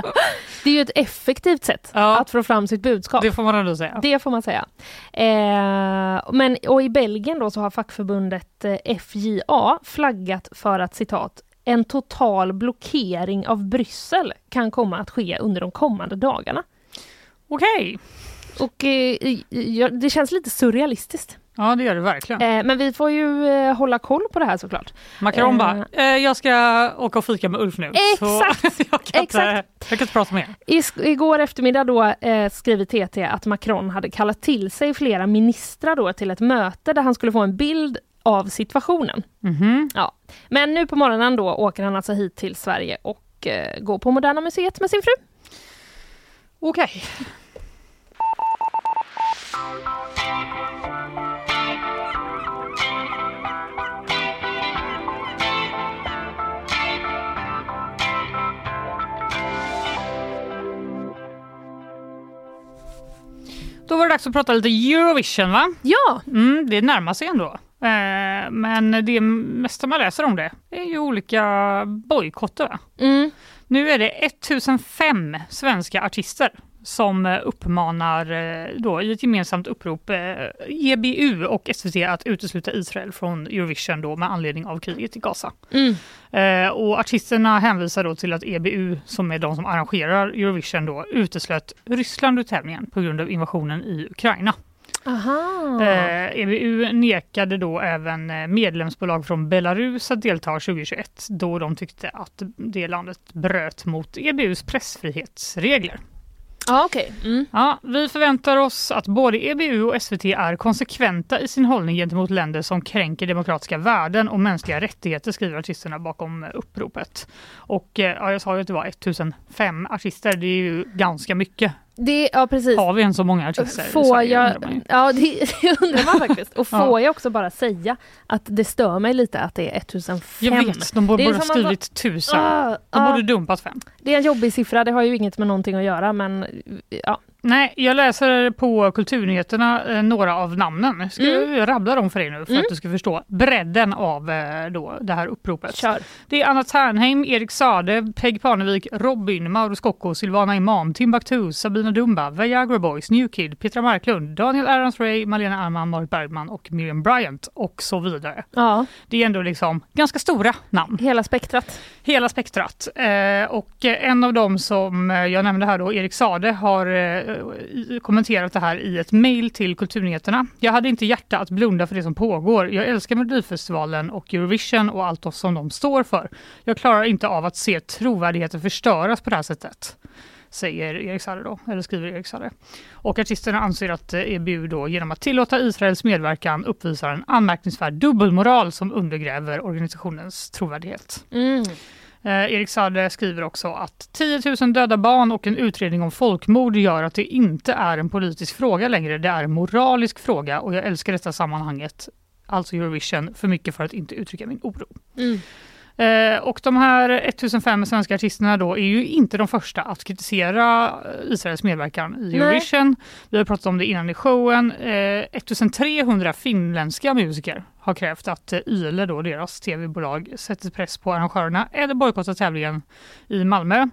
Det är ju ett effektivt sätt Ja. att få fram sitt budskap. Det får man ändå säga. Det får man säga. Eh, men, och i Belgien då så har fackförbundet eh, FJA flaggat för att citat en total blockering av Bryssel kan komma att ske under de kommande dagarna. Okej. Och eh, i- i- ja, det känns lite surrealistiskt. Ja, det gör det verkligen. Eh, men vi får ju eh, hålla koll på det här såklart. Macron eh. bara, eh, jag ska åka och fika med Ulf nu. Exakt, Så <laughs> jag, kan Inte, exakt. jag kan inte prata med er. I, igår eftermiddag då eh, skriver TT att Macron hade kallat till sig flera ministrar då till ett möte där han skulle få en bild av situationen. Mhm. Ja. Men nu på morgonen då åker han alltså hit till Sverige och eh, går på Moderna Museet med sin fru. Okej. Då var det dags att prata lite Eurovision va? Ja, Mm, det närmar sig ändå. Eh, men det mesta man läser om det är ju olika bojkotter. va? mm. Nu är det 1005 svenska artister som eh, uppmanar eh, då i ett gemensamt upprop eh, EBU och SVT att utesluta Israel från Eurovision då med anledning av kriget i Gaza. Mm. Eh, och artisterna hänvisar då till att EBU, som är de som arrangerar Eurovision, då, uteslöt Ryssland ur tävlingen på grund av invasionen i Ukraina. Aha. Eh, EBU nekade då även eh, medlemsbolag från Belarus att delta 2021 då de tyckte att det landet bröt mot EBUs pressfrihetsregler. Ja, okej. Mm. Ja, vi förväntar oss att både EBU och SVT är konsekventa i sin hållning gentemot länder som kränker demokratiska värden och mänskliga rättigheter skriver artisterna bakom eh, uppropet. Och eh, ja, jag sa ju att det var 1005 artister, det är ju ganska mycket. Det, ja, precis. Har vi än så många artister i Får Sverige, jag, undrar man ju. ja, det, <laughs> det undrar man faktiskt. Och Ja. får jag också bara säga att det stör mig lite att det är 1005. Jag vet, de borde Det är ha som att- skrivit 1000. Ah, De ah. borde dumpat fem. Det är en jobbig siffra, det har ju inget med någonting att göra men ja. Nej, jag läser på Kulturnyheterna eh, några av namnen. Ska Mm. jag rabbla dem för er nu för att du ska förstå bredden av eh, då, det här uppropet. Kör. Det är Anna Ternheim, Erik Sade, Peg Parnevik, Robin, Mauro Scocco, Silvana Imam, Timbuktu, Sabina Dumba, Viagra Boys, New Kid, Petra Marklund, Daniel Arons Ray, Malena Arman, Marit Bergman och Miriam Bryant och så vidare. Ja, Det är ändå liksom ganska stora namn. hela spektrat. Hela spektrat. Eh, och eh, en av dem som eh, jag nämnde här då, Erik Sade, har eh, i- kommenterat det här i ett mejl till Kulturnyheterna. Jag hade inte hjärta att blunda för det som pågår. Jag älskar Melodifestivalen och Eurovision och allt som de står för. Jag klarar inte av att se trovärdigheten förstöras på det här sättet säger Erik Sade då, eller skriver Erik Sade. Och artisterna anser att eh, EBU då genom att tillåta Israels medverkan uppvisar en anmärkningsvärd dubbelmoral som undergräver organisationens trovärdighet. Eh, Erik Sade skriver också att 10 000 döda barn och en utredning om folkmord gör att det inte är en politisk fråga längre. Det är en moralisk fråga och jag älskar detta sammanhanget, alltså Eurovision, för mycket för att inte uttrycka min oro. Eh, och de här 1005 svenska artisterna då är ju inte de första att kritisera eh, Israels medverkan i Nej. Eurovision. Vi har pratat om det innan i showen. Eh, 1300 finländska musiker har krävt att eh, YLE, då, deras tv-bolag, sätter press på arrangörerna eller bojkottar tävlingen i Malmö.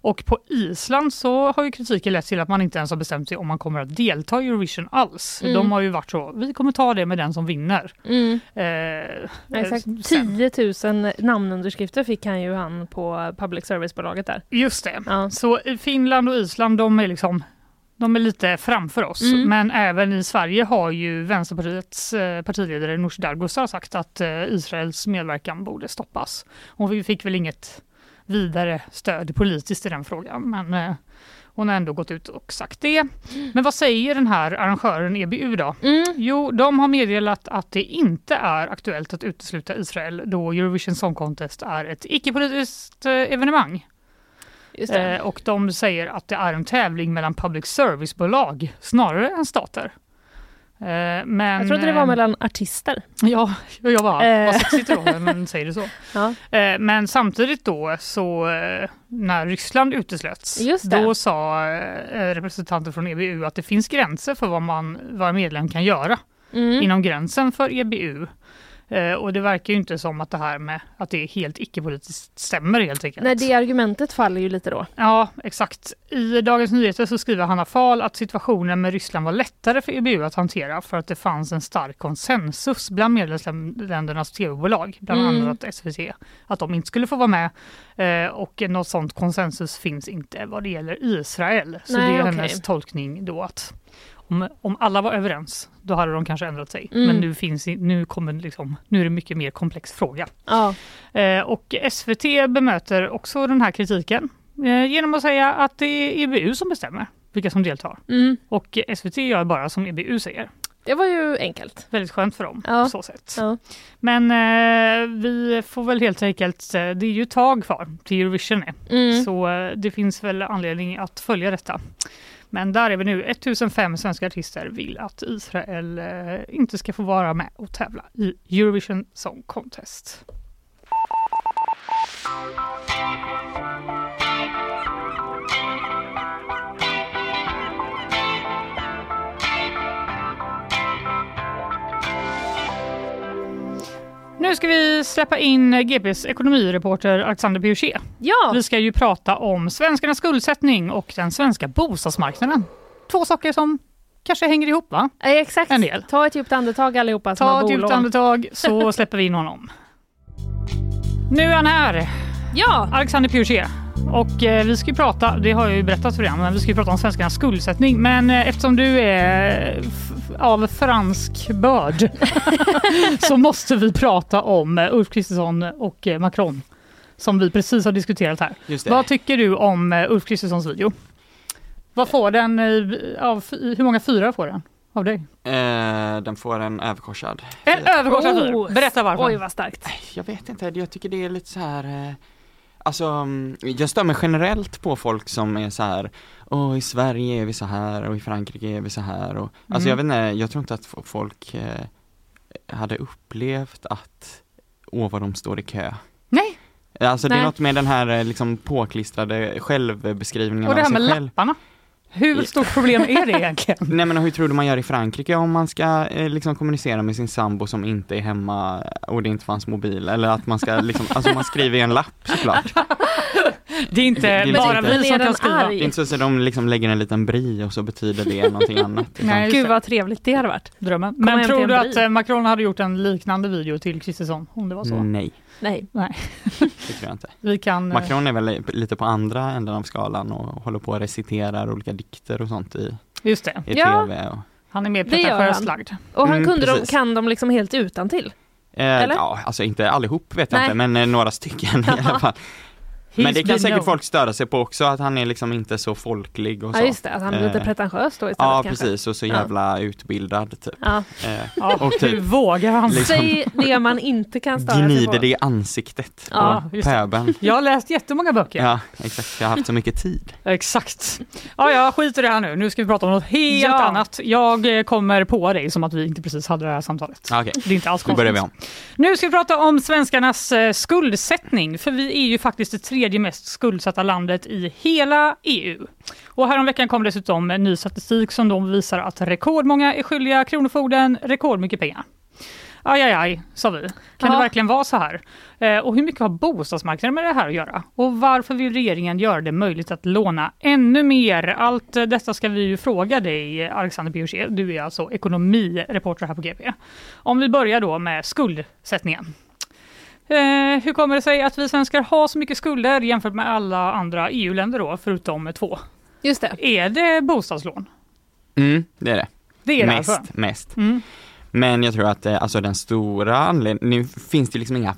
Och på Island så har ju kritiken lett till att man inte ens har bestämt sig om man kommer att delta i Eurovision alls. Mm. De har ju varit så, vi kommer ta det med den som vinner. Mm. Eh, Exakt. 10 eh, 000 namnunderskrifter fick han ju han på public service-bolaget där. Just det. Så i Finland och Island de är liksom de är lite framför oss, Mm. men även i Sverige har ju Vänsterpartiets eh, partiledare Nooshi Dadgostar sagt att eh, Israels medverkan borde stoppas. Hon fick- fick väl inget vidare stöd politiskt i den frågan, men eh, hon har ändå gått ut och sagt det. Men vad säger den här arrangören EBU då? Jo, de har meddelat att det inte är aktuellt att utesluta Israel då Eurovision Song Contest är ett icke-politiskt eh, evenemang. Just det. Eh, och de säger att det är en tävling mellan public service-bolag snarare än stater. Eh, men, eh, jag trodde det var mellan artister. <laughs> Ja, jag bara, Eh. vad sexigt det var när man säger det så. <laughs> Ja. Eh, Men samtidigt då så eh, när Ryssland uteslöts, Just det. då sa eh, representanter från EBU att det finns gränser för vad man vad en medlem kan göra Mm. inom gränsen för EBU. Eh, Och det verkar ju inte som att det här med att det är helt icke-politiskt stämmer helt enkelt. Nej, det argumentet faller ju lite då. Ja, exakt. I Dagens Nyheter så skriver Hanna Fahl att situationen med Ryssland var lättare för EBU att hantera för att det fanns en stark konsensus bland medlemsländernas tv-bolag, bland Mm. annat SVT, att de inte skulle få vara med. Eh, och något sånt konsensus finns inte vad det gäller Israel. Så Nej, det är okej. hennes tolkning då att om, om alla var överens, då hade de kanske ändrat sig. Mm. Men nu, finns, i- nu, kommer liksom, nu är det mycket mer komplex fråga. Ja. Eh, Och SVT bemöter också den här kritiken eh, genom att säga att det är EBU som bestämmer vilka som deltar. Mm. Och SVT gör bara som EBU säger. Det var ju enkelt. Väldigt skönt för dem Ja. på så sätt. Ja. Men eh, vi får väl helt enkelt, eh, det är ju ett tag kvar till Eurovision är. Mm. Så eh, det finns väl anledning att följa detta. Men där är vi nu, 1005 svenska artister vill att Israel eh, inte ska få vara med och tävla i Eurovision Song Contest. Nu ska vi släppa in GPs ekonomireporter Alexander Piochet. Ja. Vi ska ju prata om svenskarnas skuldsättning och den svenska bostadsmarknaden. Två saker som kanske hänger ihop va? eh, Exakt. En del. Ta ett djupt andetag allihopa som Ta har ett djupt bolån. andetag <laughs> så släpper vi in honom. Nu är han här! Ja! Alexander Piochet. Och eh, vi ska ju prata, det har jag ju berättat för er, men vi ska ju prata om svenskarnas skuldsättning. Men eh, eftersom du är eh, f- av <laughs> fransk börd <laughs> så måste vi prata om eh, Ulf Kristersson och eh, Macron som vi precis har diskuterat här. Just det. Vad tycker du om eh, Ulf Kristerssons video? Vad får den, eh, av, f- hur många fyra får den av dig? Eh, den får en överkorsad. En överkorsad fyr. Berätta varför. Oh, Oj vad starkt. Jag vet inte, jag tycker det är lite så här eh, Alltså, mm, jag stör mig generellt på folk som är så här Åh, i Sverige är vi så här och i Frankrike är vi så här och Mm. Alltså jag vet inte, jag tror inte att fo- folk eh, hade upplevt att Åh, vad de står i kö Nej. Alltså det Nej. är något med den här eh, liksom påklistrade självbeskrivningen Och det av här sig med själv lapparna. Hur stort problem är det egentligen? <laughs> Nej men hur tror du man gör i Frankrike om man ska eh, liksom kommunicera med sin sambo som inte är hemma och det inte fanns mobil eller att man <laughs> ska liksom, alltså man skriver i en lapp såklart. Det är inte bara vi som kan skriva. Det är inte så att de liksom lägger en liten bri och så betyder det någonting annat. liksom. Nej, Gud vad trevligt det hade varit. Drömmen. Komma Men hem till tror en du bil. att eh, Macron hade gjort en liknande video till Kristersson om det var så? Nej, Nej. Nej. det tror jag inte. Vi kan... eh, Mm. Macron är väl lite på andra änden av skalan och håller på och reciterar olika dikter och sånt i, Just det. i Ja. tv. Och, Han är mer Det gör pretentiöst han. lagd. Och han Mm, kunde de, precis. kan de liksom helt utan till. eh, Eller? ja, alltså inte allihop vet jag Nej. inte, men eh, några <laughs> stycken i alla fall. Men det been kan säkert known. folk störa sig på också, att han är liksom inte så folklig och så. Ja just det, att han är lite Eh, pretentiös då istället Ja kanske. precis, och så Ja. jävla utbildad typ. Ja. Eh, Ja, och hur typ vågar <laughs> han? liksom- Säg det man inte kan störa sig på. gnider det i ansiktet Ja, på just det. pöbeln. Jag har läst jättemånga böcker. Ja, exakt. Jag har haft så mycket tid. Exakt. Ja, jag skiter i det här nu. Nu ska vi prata om något helt Ja. annat. Jag eh, kommer på dig som att vi inte precis hade det här samtalet. Ja, Ah, Okej, Det är inte alls då börjar vi om. konstigt. Nu ska vi prata om svenskarnas eh, skuldsättning, för vi är ju faktiskt det tredje mest skuldsatta landet i hela E EU. Och häromveckan kom dessutom en ny statistik som då visar att rekordmånga är skyldiga Kronofogden rekordmycket pengar. aj, aj, aj, sa vi. Kan det Ja. verkligen vara så här? Eh, Och hur mycket har bostadsmarknaden med det här att göra? Och varför vill regeringen göra det möjligt att låna ännu mer? Allt eh, detta ska vi ju fråga dig, Alexander Bjurcé. Du är alltså ekonomireporter här på GP. Om vi börjar då med skuldsättningen. Eh, hur kommer det sig att vi svenskar har så mycket skulder jämfört med alla andra EU-länder då, förutom två? Just det. Är det bostadslån? Mm, det är det. Det är det mest, alltså. mest. Mm. Men jag tror att eh, alltså den stora anledningen, nu finns det liksom inga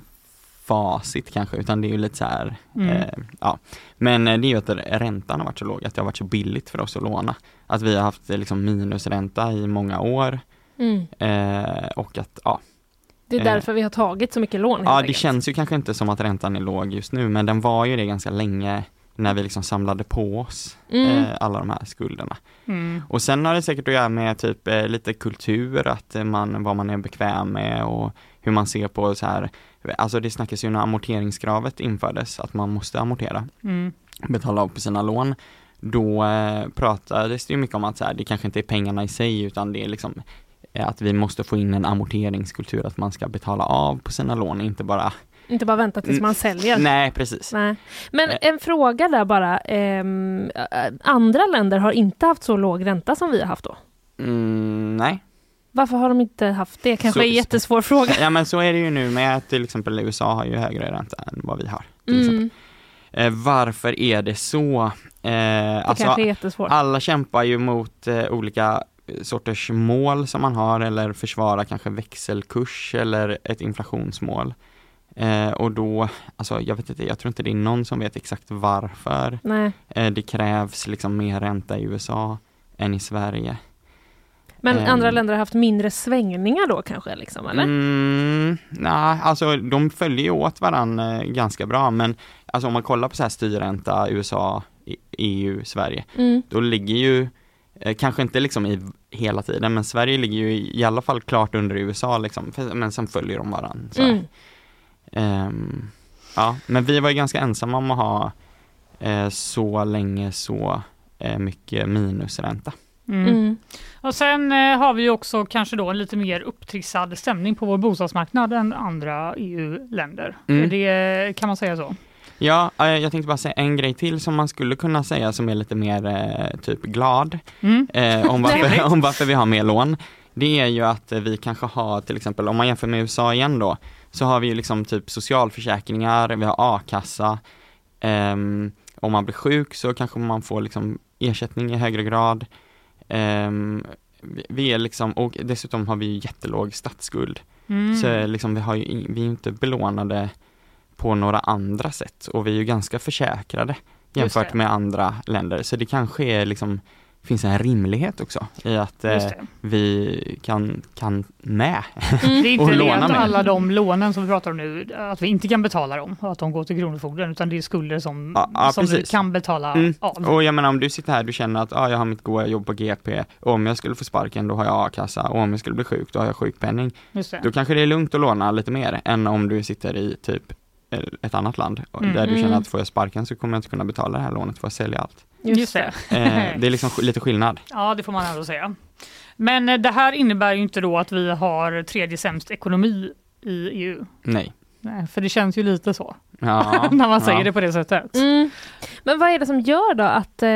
facit kanske, utan det är ju lite så här, Mm. eh, ja. Men eh, det är ju att räntan har varit så låg, att det har varit så billigt för oss att låna. Att vi har haft eh, liksom minusränta i många år Mm. eh, och att, ja. Det är Eh, därför vi har tagit så mycket lån. helt Ja, det enkelt. känns ju kanske inte som att räntan är låg just nu, men den var ju det ganska länge när vi liksom samlade på oss Mm. eh, alla de här skulderna. Mm. Och sen har det säkert att göra med typ eh, lite kultur, att eh, man, vad man är bekväm med och hur man ser på så här, alltså det snackas ju när amorteringskravet infördes, att man måste amortera, Mm. betala av på sina lån. Då eh, pratades det ju mycket om att så här, det kanske inte är pengarna i sig, utan det är liksom eh, att vi måste få in en amorteringskultur, att man ska betala av på sina lån, inte bara Inte bara vänta tills man Mm, säljer. Nej, precis. Nej. Men Eh. en fråga där bara. ehm, eh, andra länder har inte haft så låg ränta som vi har haft då. Mm, nej. Varför har de inte haft det? Kanske Så- är en jättesvår fråga. Ja men så är det ju nu med att till exempel USA har ju högre ränta än vad vi har. Till exempel. Mm, Eh, varför är det så? Eh, det alltså, kanske är jättesvårt. alla kämpar ju mot eh, olika eh, sorters mål som man har eller försvarar kanske växelkurs eller ett inflationsmål. Eh, och då, alltså jag vet inte, jag tror inte det är någon som vet exakt varför Nej. eh, det krävs liksom mer ränta i USA än i Sverige. Men Ehm. andra länder har haft mindre svängningar då kanske? Liksom, eller? Mm, nej, alltså de följer ju åt varandra ganska bra, men alltså om man kollar på så här styrränta, USA, E- EU, Sverige, Mm. då ligger ju, eh, kanske inte liksom i hela tiden, men Sverige ligger ju i, i alla fall klart under USA liksom, för, men sen följer de varandra. Så här. Mm. Ehm, ja, men vi var ju ganska ensamma om att ha eh, så länge så eh, mycket minusränta. Mm. Mm. Och sen eh, har vi ju också kanske då en lite mer upptrissad stämning på vår bostadsmarknad än andra EU-länder. Mm. Är Det, kan man säga så? Ja, eh, jag tänkte bara säga en grej till som man skulle kunna säga som är lite mer eh, typ glad Mm. eh, om, Trevligt. varför, <laughs> om varför vi har mer lån. Det är ju att eh, vi kanske har till exempel, om man jämför med USA igen då, så har vi ju liksom typ socialförsäkringar, vi har a-kassa, Ehm, om man blir sjuk så kanske man får liksom ersättning i högre grad. Ehm, vi- vi är liksom, och dessutom har vi ju jättelåg statsskuld. Mm. Så liksom, vi, har ju, in- vi är ju inte belånade på några andra sätt och vi är ju ganska försäkrade jämfört det. med andra länder. Så det kanske är liksom, finns en rimlighet också i att eh, Just det. Mm. vi kan, kan med. det är <laughs> Och inte det låna att mer. alla de lånen som vi pratar om nu, att vi inte kan betala dem och att de går till Kronofogden, utan det är skulder som, Ja, ja, som vi precis. kan betala Mm. av. Och jag menar om du sitter här, du känner att ah, jag har mitt goa jobb på GP, och om jag skulle få sparken då har jag a-kassa och om jag skulle bli sjuk då har jag sjukpenning. Just det. Då kanske det är lugnt att låna lite mer än om du sitter i typ eh, ett annat land och- Mm. där du känner Mm. att får jag sparken så kommer jag inte kunna betala det här lånet, får jag sälja allt. Just, det. Eh, <laughs> det är liksom sk- lite skillnad. Ja, det får man ändå säga. Men eh, det här innebär ju inte då att vi har tredje sämst ekonomi i EU. Nej. Nej, för det känns ju lite så Ja, <laughs> när man säger ja. det på det sättet. Mm. Men vad är det som gör då att, eh,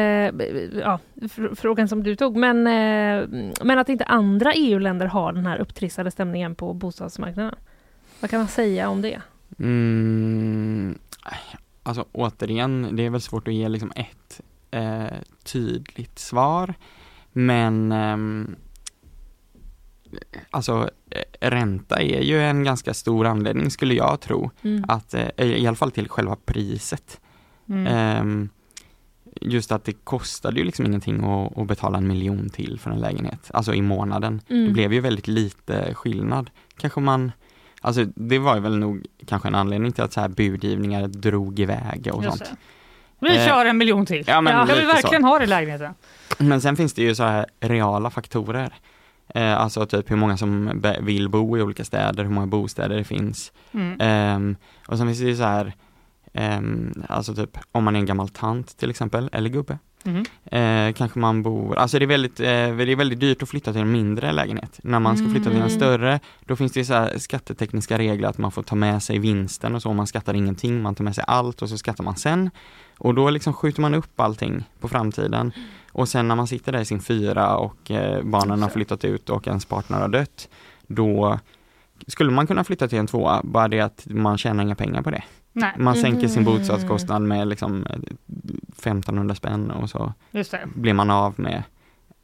ja, fr- frågan som du tog, men, eh, men att inte andra EU-länder har den här upptrissade stämningen på bostadsmarknaden? Vad kan man säga om det? Mm, alltså återigen, det är väl svårt att ge liksom ett eh, tydligt svar. Men ehm, alltså eh, ränta är ju en ganska stor anledning skulle jag tro. Mm. Att, eh, I alla fall till själva priset. Mm. Ehm, just att det kostade ju liksom ingenting att, att betala en miljon till för en lägenhet, alltså i månaden. Mm. Det blev ju väldigt lite skillnad. Kanske man, alltså det var ju väl nog kanske en anledning till att så här budgivningar drog iväg och Just sånt. det. Vi Eh, kör en miljon till. ja, men jag vill lite så. verkligen ha det i lägenheten. Men sen finns det ju så här reala faktorer. Eh, alltså typ hur många som be- vill bo i olika städer, hur många bostäder det finns. Mm. Ehm, och sen finns det ju så här, ehm, alltså typ om man är en gammal tant till exempel, eller gubbe. Mhm. Eh, kanske man bor, alltså det är, väldigt, eh, det är väldigt dyrt att flytta till en mindre lägenhet. När man ska flytta till Mm. en större, då finns det ju så här skattetekniska regler att man får ta med sig vinsten och så, man skattar ingenting, man tar med sig allt och så skattar man sen. Och då liksom skjuter man upp allting på framtiden. Och sen när man sitter där i sin fyra och eh, barnen har flyttat ut och ens partner har dött, då skulle man kunna flytta till en tvåa, bara det att man tjänar inga pengar på det. Nej. Man sänker sin Mhm. bostadskostnad med liksom eh, 1500 spänn och så Just det. blir man av med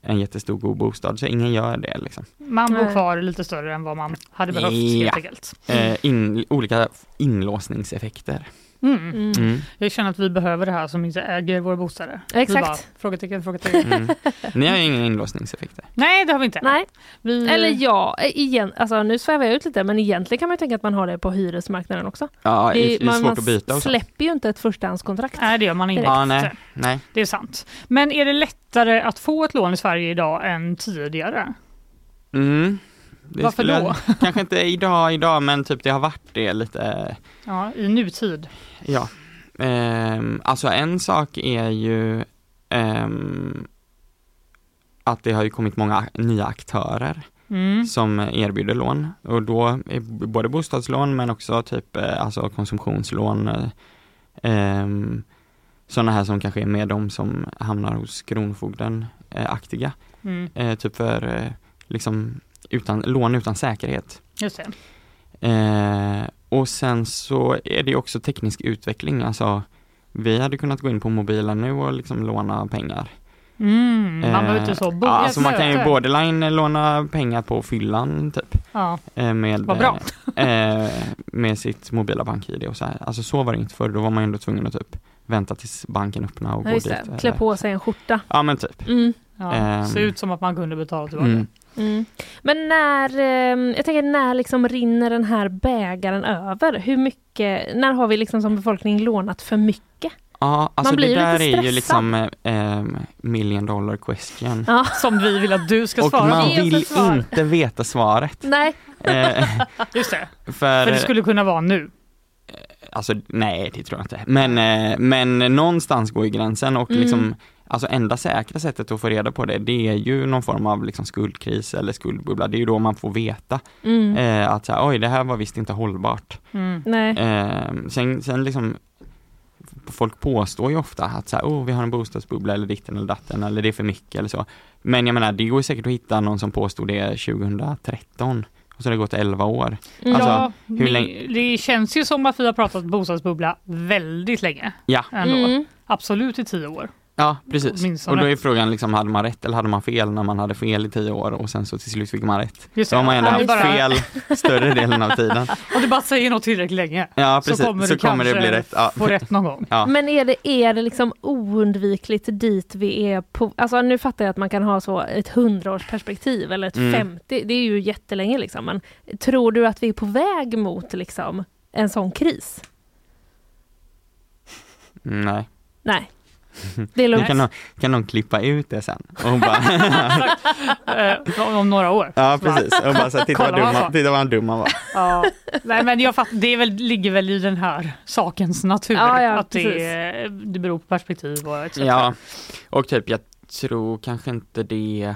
en jättestor god bostad, så ingen gör det liksom. Man bor Nej. kvar lite större än vad man hade behövt helt enkelt. Eh, in, olika inlåsningseffekter. Mm. Mm. Jag känner att vi behöver det här som inte äger våra bostäder. Vi Exakt. bara, frågetecken, frågetecken. Mm. Ni har ju inga inlåsningseffekter. Nej, det har vi inte. Nej. Vi, Eller ja, eh, igen, alltså, nu svävar jag ut lite men egentligen kan man ju tänka att man har det på hyresmarknaden också. Ja, det, Det- är- det är man svårt att byta och så. släpper ju inte ett förstahandskontrakt. Nej, det gör man inte. Ja, nej, nej. Det är sant. Men är det lättare att få ett lån i Sverige idag än tidigare? Mm. Det Varför skulle jag- då? kanske inte idag, idag, men typ det har varit det lite, Ja, i nutid. ja. Ehm, alltså en sak är ju ehm, att det har ju kommit många nya aktörer. Mm. som erbjuder lån och då är b- både bostadslån men också typ eh, alltså konsumtionslån eh, sådana här som kanske är med de som hamnar hos Kronofogden eh, aktiga. Mm. Eh, typ för eh, liksom utan, lån utan säkerhet. Just det. Eh, och sen så är det ju också teknisk utveckling, alltså vi hade kunnat gå in på mobilen nu och liksom låna pengar. Mm. Man behöver Eh, inte så bo. ja, alltså man kan ju Möte. både line låna pengar på fyllan typ. Ja. Eh, Med, Vad bra. eh, eh, med sitt mobila bank-id och så här. Alltså så var det inte förr, då var man ju ändå tvungen att typ vänta tills banken öppnade och Ja, gå just dit. det. eller- Klä på sig en skjorta. Ja men typ. Mm. Ja. Ehm. Ser ut som att man kunde betala tillbaka. Mm. Mm. Men när, ehm, jag tänker när liksom rinner den här bägaren över? Hur mycket, när har vi liksom som befolkning lånat för mycket? Ja, alltså Man blir det ju där lite är ju stressad. liksom eh, ehm, million dollar question. Ja. Som vi vill att du ska Och svara man på. Ge oss vill ett svar. inte veta svaret. Nej. Eh, Just det. för, För det skulle kunna vara nu. alltså nej det tror jag inte. Men, eh, men någonstans går ju gränsen och Mm. liksom, alltså enda säkra sättet att få reda på det, det är ju någon form av liksom skuldkris eller skuldbubbla. Det är ju då man får veta. Mm. Eh, att så här, oj det här var visst inte hållbart. Mm. Nej. Eh, sen, sen liksom Folk påstår ju ofta att så här, oh, vi har en bostadsbubbla eller ditten eller datten eller det är för mycket eller så. Men jag menar, det går ju säkert att hitta någon som påstod det 2013 och så har det gått 11 år. Alltså, ja, hur det- länge- Det känns ju som att vi har pratat bostadsbubbla väldigt länge. Ja, Ändå. Mm. Absolut i tio år. ja precis. Åtminstone. Och då är frågan liksom, hade man rätt eller hade man fel när man hade fel i 10 år och sen så till slut fick man rätt. Just Så har man ändå Om du haft bara, fel större delen av tiden. <laughs> Om du bara säger något tillräckligt länge Ja, precis. så kommer, så du kommer det kanske bli rätt. Ja. få rätt någon gång. Ja. Men är det, är det liksom oundvikligt dit vi är på? Alltså nu fattar jag att man kan ha så ett hundraårsperspektiv eller ett Mm. 50, det är ju jättelänge liksom. Men tror du att vi är på väg mot liksom en sån kris? Nej. Nej. Det är Nu lugnt. kan någon, kan någon klippa ut det sen och <laughs> bara Eh, om- om några år. Ja precis, och bara så här, titta, vad Kolla vad dum, han han- sa. titta vad han dum han var. Ja. Nej, men jag fatt, det är väl, ligger väl i den här sakens natur Ja, ja, att det, precis. är- det beror på perspektiv och etc. Ja, och typ jag tror kanske inte det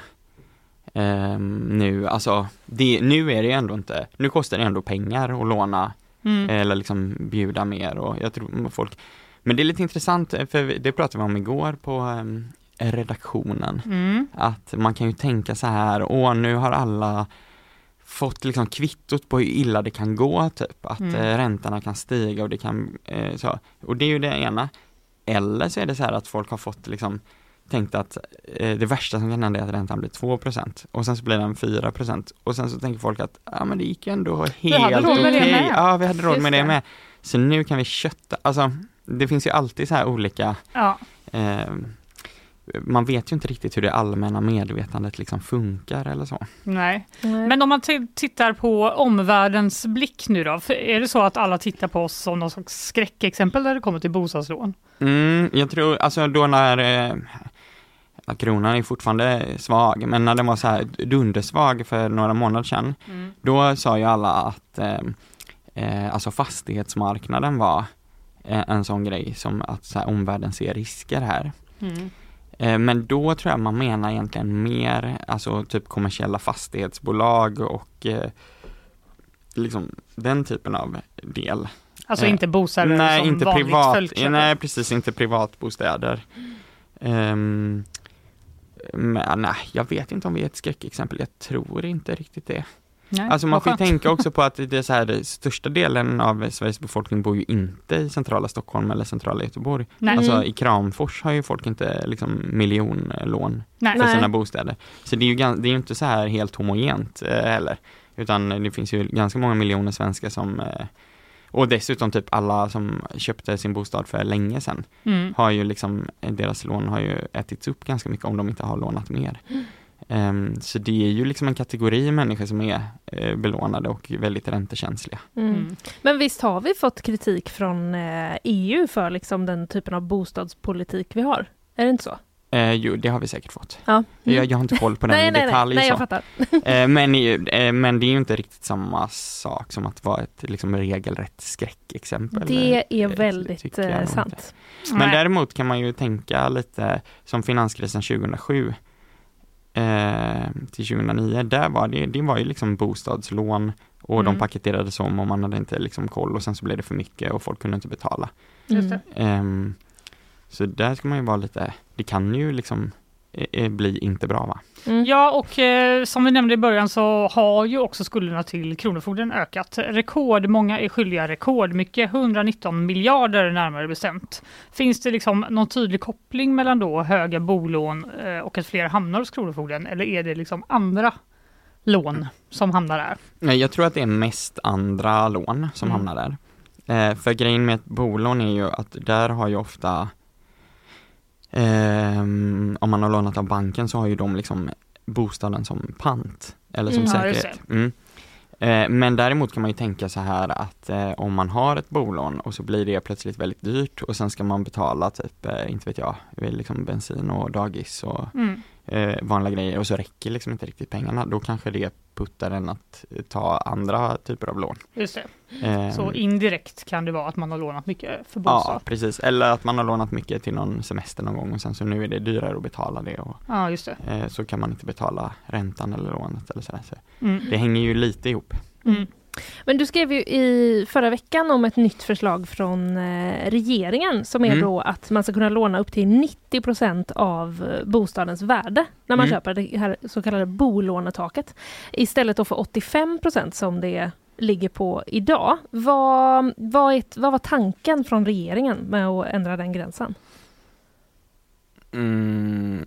ehm, nu, alltså det, nu är det ändå inte, nu kostar det ändå pengar att låna Mm. eller liksom bjuda mer och jag tror mm, folk, men det är lite intressant eh, för vi- det pratade vi om igår på ehm, redaktionen, Mm. att man kan ju tänka så här, åh nu har alla fått liksom kvittot på hur illa det kan gå, typ att Mm. eh, räntorna kan stiga och det kan, eh, så. Och det är ju det ena. Eller så är det så här att folk har fått liksom tänkt att eh, det värsta som kan hända är att räntan blir 2% och sen så blir den 4% och sen så tänker folk att ja men det gick ju ändå hade helt råd med det okej. med. Ja, vi hade råd Just med det det. med. Så nu kan vi kötta, alltså det finns ju alltid så här olika Ja. eh, man vet ju inte riktigt hur det allmänna medvetandet liksom funkar eller så. Nej. Nej. Men om man t- tittar på omvärldens blick nu då, för är det så att alla tittar på oss som någon slags skräckexempel när det kommer till bostadslån? Mm, jag tror, alltså då när eh, ja, kronan är fortfarande svag, men när den var så här dundersvag för några månader sedan, då sa ju alla att eh, eh, alltså liksom Mm. fastighetsmarknaden var eh, en sån grej som att så här, omvärlden ser risker här. Eh, Men då tror jag man menar egentligen mer, alltså typ kommersiella fastighetsbolag och eh, liksom den typen av del. Alltså Eh, inte bostäder nej, som inte vanligt privat, folkköp. Nej, precis, inte privatbostäder. Ehm, men nej, jag vet inte om vi är ett skräckexempel, jag tror inte riktigt det. Nej, alltså man vad får ju skönt. tänka <laughs> också på att det är så här, största delen av Sveriges befolkning bor ju inte i centrala Stockholm eller centrala Göteborg. Nej. Alltså Mm. i Kramfors har ju folk inte liksom miljonlån Nej. för sina Nej. bostäder. Så det är ju gan- det är ju inte så här helt homogent eh, heller. Utan det finns ju ganska många miljoner svenskar som eh, och dessutom typ alla som köpte sin bostad för länge sedan Mm. har ju liksom, eh, deras lån har ju ätits upp ganska mycket om de inte har lånat mer. Ehm, så det är ju liksom en kategori människor som är eh, belånade och väldigt räntekänsliga. Mm. Men visst har vi fått kritik från eh, EU för liksom den typen av bostadspolitik vi har? Är det inte så? Eh, jo, det har vi säkert fått. Ja. Mm. Jag, jag har inte koll på den nej, i nej, Nej, detalj. nej, så. jag fattar. Eh, men, i- eh, men det är ju inte riktigt samma sak som att vara ett liksom, regelrätt skräckexempel. Det är Eh, väldigt tycker jag eh, nog sant. inte. Men däremot kan man ju tänka lite som finanskrisen 2007 eh, till 2009, där var det, det var ju liksom bostadslån och Mm. de paketerades om och man hade inte liksom koll och sen så blev det för mycket och folk kunde inte betala. Just det. Ehm, så där ska man ju vara lite, det kan ju liksom eh, eh, bli inte bra va? Ja, och eh, som vi nämnde i början så har ju också skulderna till Kronofogden ökat. Rekordmånga är skyldiga rekordmycket, 119 miljarder närmare bestämt. Finns det liksom någon tydlig koppling mellan då höga bolån eh, och att fler hamnar hos Kronofogden eller är det liksom andra lån som hamnar där? Nej, jag tror att det är mest andra lån som Mm. hamnar där. Eh, för grejen med ett bolån är ju att där har ju ofta, ehm, om man har lånat av banken så har ju de liksom bostaden som pant, eller som Mm. Ja, just säkerhet. Mm. Eh, men däremot kan man ju tänka så här att eh, om man har ett bolån och så blir det plötsligt väldigt dyrt och sen ska man betala typ, eh, inte vet jag, liksom bensin och dagis och Mm. eh, vanliga grejer och så räcker liksom inte riktigt pengarna, då kanske det puttar en att ta andra typer av lån. Just det. Ehm, Så indirekt kan det vara att man har lånat mycket för bostad. ja, precis. Eller att man har lånat mycket till någon semester någon gång och sen så nu är det dyrare att betala det och Ja, just det. eh, så kan man inte betala räntan eller lånet eller sådär. Så Mm. Eh, Det hänger ju lite ihop. Men du skrev ju i förra veckan om ett nytt förslag från eh, regeringen som är Mm. då att man ska kunna låna upp till 90 av eh, bostadens värde när man Mm. köper det här så kallade bolånetaket. Istället då för 85 som det ligger på idag. Vad, vad, är, vad var tanken från regeringen med att ändra den gränsen? Mm.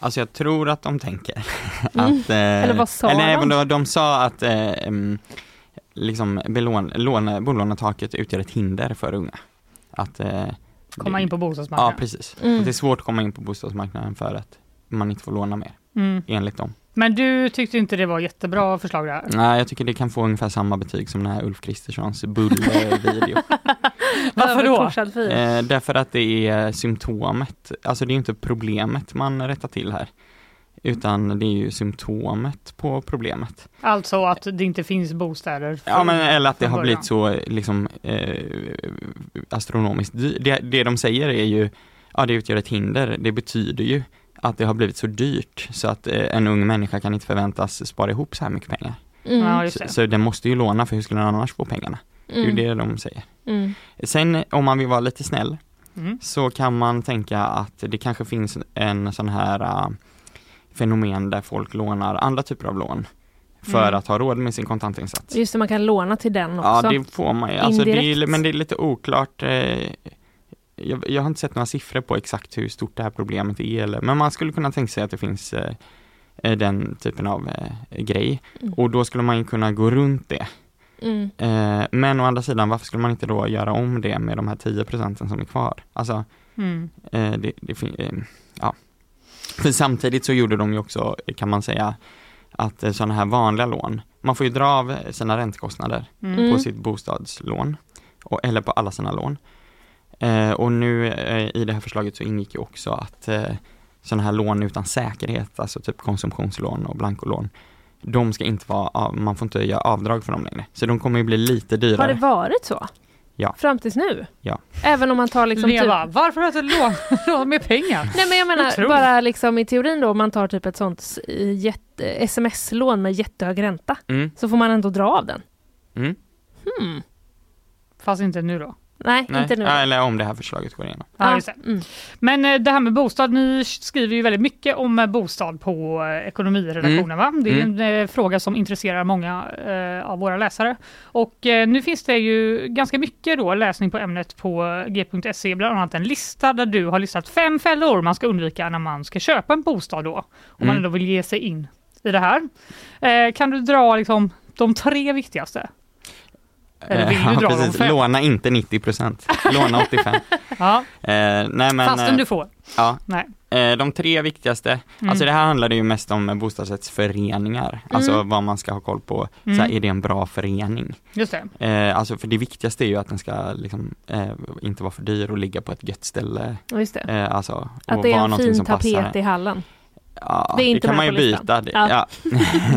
Alltså jag tror att de tänker <laughs> att... Mm. eh, Eller vad sa eller, nej, de? men de? De sa att eh, em, liksom belån, låne, bolånetaket utgör ett hinder för unga. Att eh, Komma det- in på bostadsmarknaden. Ja, precis. Mm. Att det är svårt att komma in på bostadsmarknaden för att man inte får låna mer, Mm. enligt dem. Men du tyckte inte det var jättebra förslag där? Nej, jag tycker det kan få ungefär samma betyg som den här Ulf Kristerssons <laughs> bulle-video. Varför då? Överkorsad fil. Eh, därför att det är symptomet, alltså det är inte problemet man rättar till här, utan det är ju symptomet på problemet. Alltså att det inte finns bostäder? för- Ja, men, eller att det från har början. blivit så eh, liksom, eh, astronomiskt dyrt. Det, det de säger är ju, ja det utgör ett hinder, det betyder ju att det har blivit så dyrt så att eh, en ung människa kan inte förväntas spara ihop så här mycket pengar. Mm. Ja, just så, det. så den måste ju låna för hur skulle den annars få pengarna? Mm. Det är ju det de säger. Mm. Sen om man vill vara lite snäll Mm. så kan man tänka att det kanske finns en sån här äh, fenomen där folk lånar andra typer av lån för Mm. att ha råd med sin kontantinsats. Just det, man kan låna till den också. Ja, det får man ju. Alltså, det är, Indirekt. men det är lite oklart. Eh, jag, jag har inte sett några siffror på exakt hur stort det här problemet är, eller, men man skulle kunna tänka sig att det finns eh, eh, den typen av eh, grej. Mm. Och då skulle man ju kunna gå runt det. Mm. Eh, men å andra sidan, varför skulle man inte då göra om det med de här 10 procenten som är kvar? Alltså, Mm. eh, det, det, fin- eh, ja. För samtidigt så gjorde de ju också, kan man säga, att eh, sådana här vanliga lån, man får ju dra av eh, sina räntekostnader Mm. på sitt bostadslån, och, eller på alla sina lån. Eh, och nu eh, i det här förslaget så ingick ju också att eh, sådana här lån utan säkerhet, alltså typ konsumtionslån och blankolån, de ska inte vara, av, man får inte göra avdrag för dem längre. Så de kommer ju bli lite dyrare. Har det varit så? Ja. Fram tills nu? Ja. Även om man tar liksom... Leva. Typ... Varför har jag inte lånat lån <laughs> mer pengar? Nej men jag menar Otroligt. bara liksom i teorin då, om man tar typ ett sånt s- jätte- sms-lån med jättehög ränta, Mm. så får man ändå dra av den. Mm. Hmm. Fast inte nu då. Nej, inte nu. Mm. Ja, Eller om det här förslaget går igenom. Ja, just det. Men eh, det här med bostad, ni skriver ju väldigt mycket om eh, bostad på eh, ekonomiredaktionen. Mm. Va? Det är ju Mm. en eh, fråga som intresserar många eh, av våra läsare. Och eh, nu finns det ju ganska mycket då läsning på ämnet på eh, g.se, bland annat en lista där du har listat fem fällor man ska undvika när man ska köpa en bostad då, om man Mm. ändå vill ge sig in i det här. Eh, kan du dra liksom de tre viktigaste? Eller vill du Eh, <laughs> dra ja, de precis. fem? Låna inte 90 procent. Låna <laughs> 85. Ja, Eh, nej, men, fastän eh, du får. Ja. Nej. Eh, de tre viktigaste, Mm. alltså det här handlade ju mest om eh, bostadsrättsföreningar, alltså vad man ska ha koll på, så här, Mm. är det en bra förening? Just det. Eh, alltså för det viktigaste är ju att den ska liksom, eh, inte vara för dyr och ligga på ett gött ställe. Ja, Just det. Eh, alltså, Att och det är vara en någonting fin som passar tapet en. i hallen. Ja, Det är inte det kan med man ju på listan. byta. Det, Ja. ja.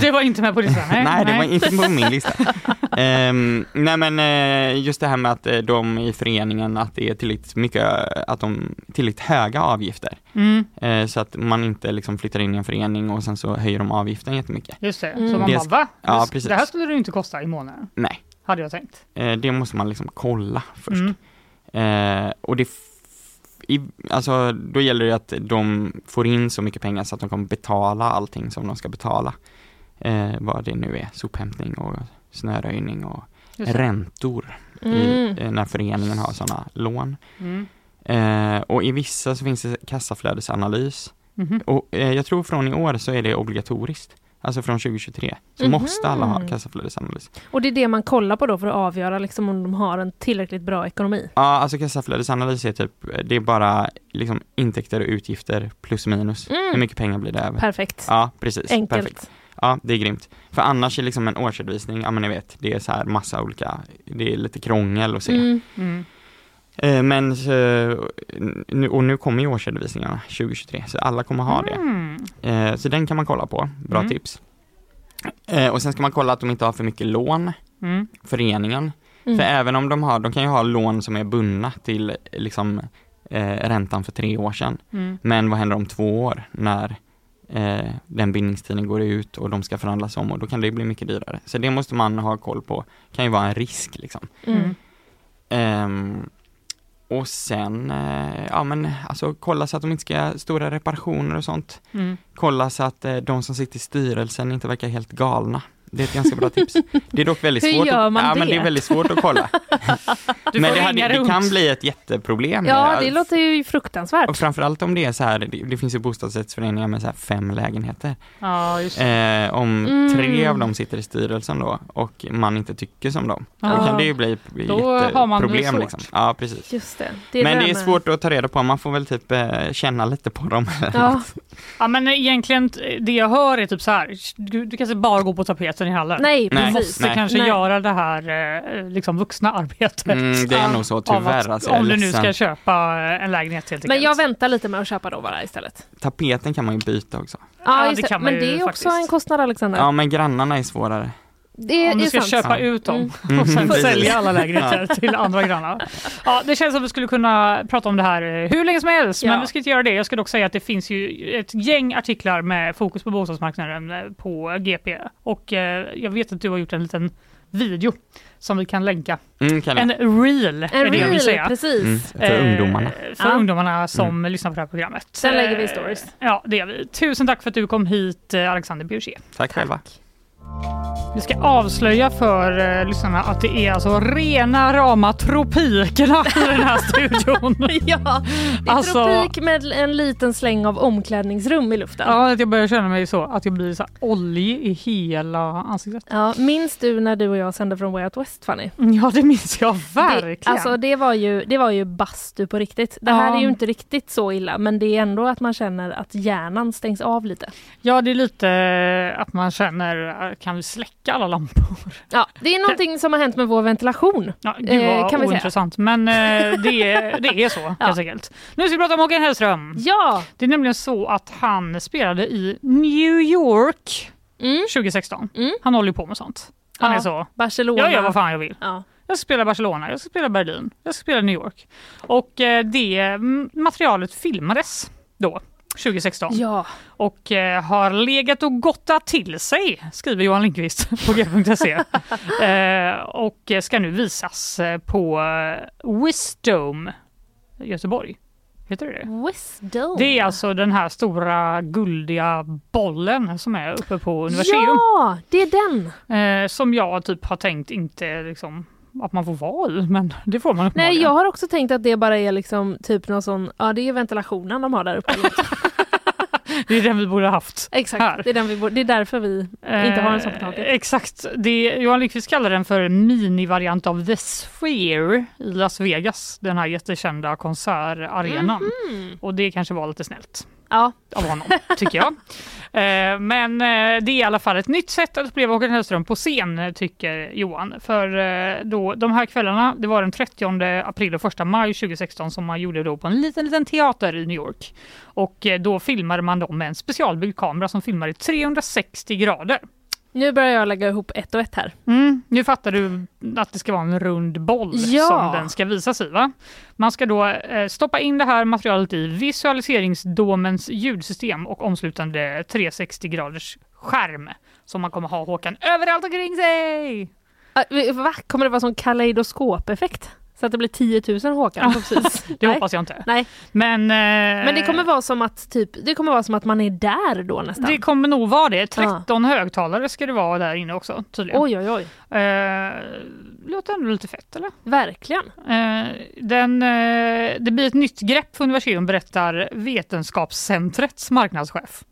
Det var inte med på listan. Nej, Nej, det var inte på min lista. Ehm, nej men eh, just det här med att eh, de i föreningen, att det är tillräckligt mycket, eh, att de tillräckligt höga avgifter. <laughs> Mm, Eh, så att man inte liksom flyttar in i en förening och sen så höjer de avgiften jättemycket. just det. Så Mm. man Det bara, sk- va? ja, Det s- precis. det här skulle det ju inte kosta i månaden, Nej, hade jag tänkt. eh, det måste man liksom kolla först. Mm. Eh, och det f- i, alltså, då gäller det att de får in så mycket pengar så att de kommer betala allting som de ska betala. Eh, vad det nu är, sophämtning och snöröjning och Just det. räntor Mm. i, eh, när föreningen har sådana lån. Mm. Eh, och i vissa så finns det kassaflödesanalys. Mhm. Och eh, jag tror från i år så är det obligatoriskt. Alltså från 2023. Så Mhm. måste alla ha kassaflödesanalys. Och det är det man kollar på då för att avgöra liksom om de har en tillräckligt bra ekonomi. Ja, alltså kassaflödesanalys är typ, det är bara liksom intäkter och utgifter plus minus. Mm. Hur mycket pengar blir det över? Perfekt. Ja, precis. Enkelt. Perfekt. Ja, det är grymt. För annars är liksom en årsredovisning, ja men ni vet, det är så här massa olika, det är lite krångel att se. Mm. Mm. Eh, Men, så, nu- och nu kommer ju årsredovisningarna 2023, så alla kommer ha det. Mm. Eh, Så den kan man kolla på, bra Mm. tips. Eh, Och sen ska man kolla att de inte har för mycket lån, Mm. föreningen. Mm. För även om de har, de kan ju ha lån som är bundna till eh, liksom eh, räntan för tre år sedan. Mm. Men vad händer om två år när eh, den bindningstiden går ut och de ska förhandlas om och då kan det bli mycket dyrare. Så det måste man ha koll på, kan ju vara en risk liksom. Mm. Ehm, och sen, eh, ja men alltså kolla så att de inte ska göra stora reparationer och sånt. Mm. Kolla så att eh, de som sitter i styrelsen inte verkar helt galna. Det är ett ganska bra tips. Det är dock väldigt Hur svårt gör att, man ja, men det? det är väldigt svårt att kolla. Du men får det, ringa hade, det runt. kan bli ett jätteproblem. Ja, det låter ju fruktansvärt. Och framförallt om det är så här, det, det finns ju bostadsrättsföreningar med så här fem lägenheter. Ja, just det. Eh, om Mm. tre av dem sitter i styrelsen då och man inte tycker som dem, då Ja. kan det ju bli Ah. har man det jätteproblem. svårt. Liksom. Ja, precis. Just det. Men där det är med- svårt att ta reda på, man får väl typ eh, känna lite på dem. <laughs> Ja. Ja, men egentligen t- det jag hör är typ så här. Du, du kanske bara går på tapeten i hallen. Nej, Nej. Du precis. måste kanske Nej. göra det här eh, liksom vuxna arbetet. Mm, det är Ja. nog så av tyvärr. att, Alltså, jag är om du nu ledsen. ska köpa eh, en lägenhet helt Men jag enkelt. väntar lite med att köpa då bara istlet. Tapeten kan man ju byta också. Ja, Ja, det just det. kan Men man ju det är också faktiskt. en kostnad Alexander. Ja men grannarna är svårare. Det är, Om du är ska sant. köpa Ja. ut dem <laughs> och Mm. sen Precis. sälja alla lägenheter till andra grannar. Ja, det känns som vi skulle kunna prata om det här eh, hur länge som helst, Ja. men vi ska inte göra det. Jag ska dock säga att det finns ju ett gäng artiklar med fokus på bostadsmarknaden eh, på GP och eh, jag vet att du har gjort en liten video som vi kan länka. Mm, kan jag. En reel är En det jag vill säga. reel, precis. Mm, för Eh, ungdomarna. Mm. För Ja. ungdomarna som lyssnar på det här programmet. Sen lägger vi Eh, stories. Ja, det gör vi. Tusen tack för att du kom hit, eh, Alexander Bjursier. Tack själva. Vi ska avslöja för eh, lyssnarna att det är alltså rena rama tropikerna i den här <laughs> studion. <laughs> Ja, det är Alltså- tropik med en liten släng av omklädningsrum i luften. Ja. Ja, att jag börjar känna mig så att jag blir så här oljig i hela ansiktet. minns du när du och jag sände från Way Out West Fanny? Ja, det minns jag verkligen. Det, alltså det var, ju, det var ju bastu på riktigt. Det här Ja. är ju inte riktigt så illa men det är ändå att man känner att hjärnan stängs av lite. Ja, det är lite eh, att man känner, eh, kan vi släcka alla lampor? Ja, det är någonting som har hänt med vår ventilation. Ja, gud Eh, vad kan vi säga. ointressant, men eh, det, är- <laughs> det är så helt enkelt. Nu ska vi prata om Håkan Hellström. Ja! Det är nämligen så att han spelade i New York Mm. 2016. Mm. Han håller ju på med sånt. Han Ja, är så, Barcelona. jag gör vad fan jag vill. Ja. Jag ska spela Barcelona, jag ska spela Berlin, jag ska spela New York. Och eh, det mm, materialet filmades då, 2016. Ja. Och eh, har legat och gottat till sig, skriver Johan Lindqvist <laughs> på g.se. eh, och ska nu visas eh, på eh, Wisdom Göteborg. Heter det det? Wisdom. Det är alltså den här stora guldiga bollen som är uppe på universum. Ja, det är den. Eh, som jag typ har tänkt inte liksom att man får vara i, men det får man uppenbarligen. Nej, jag har också tänkt att det bara är liksom typ någon sån, ja det är ventilationen de har där <laughs> uppe. Det är den vi borde ha haft. Exakt, det är, den vi bor, det är därför vi inte har en sån på Eh, taket. Exakt. Det, Johan Lyckvist kallar den för en minivariant av The Sphere i Las Vegas. Den här jättekända konsertarenan. Mhm. Och det kanske var lite snällt. Ja. Av honom, <laughs> tycker jag. Eh, Men eh, det är i alla fall ett nytt sätt att uppleva Håkan Hellström på scen, eh, tycker Johan. För eh, då, de här kvällarna, det var den 30 april och 1 maj 2016 som man gjorde då på en liten, liten teater i New York. Och eh, då filmade man dem med en specialbyggd kamera som filmar i 360 grader. Nu börjar jag lägga ihop ett och ett här. Mm, nu fattar du att det ska vara en rund boll Ja. som den ska visas i. Va? Man ska då eh, stoppa in det här materialet i visualiseringsdomens ljudsystem och omslutande 360 graders skärm som man kommer ha Håkan överallt omkring sig. Ah, Va? Kommer det vara sån kaleidoskopeffekt? Så att det blir 10 000 Håkan på precis? <laughs> Det Nej. hoppas jag inte. Nej. Men, eh, Men det kommer vara som att typ, det kommer vara som att man är där då nästan. det kommer nog vara det. 13 högtalare ska det vara där inne också tydligen. Oj, oj, oj. Eh, låter ändå lite fett eller? Verkligen. Eh, den, eh, det blir ett nytt grepp för universum berättar Vetenskapscentrets marknadschef.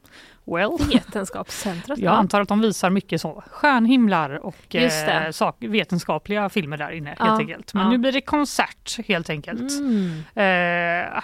Well, Vetenskapscentret. jag antar att de visar mycket så stjärnhimlar och Just eh, det. sak, vetenskapliga filmer där inne Ja, helt enkelt. Men ja. nu blir det konsert helt enkelt. Mm. Eh,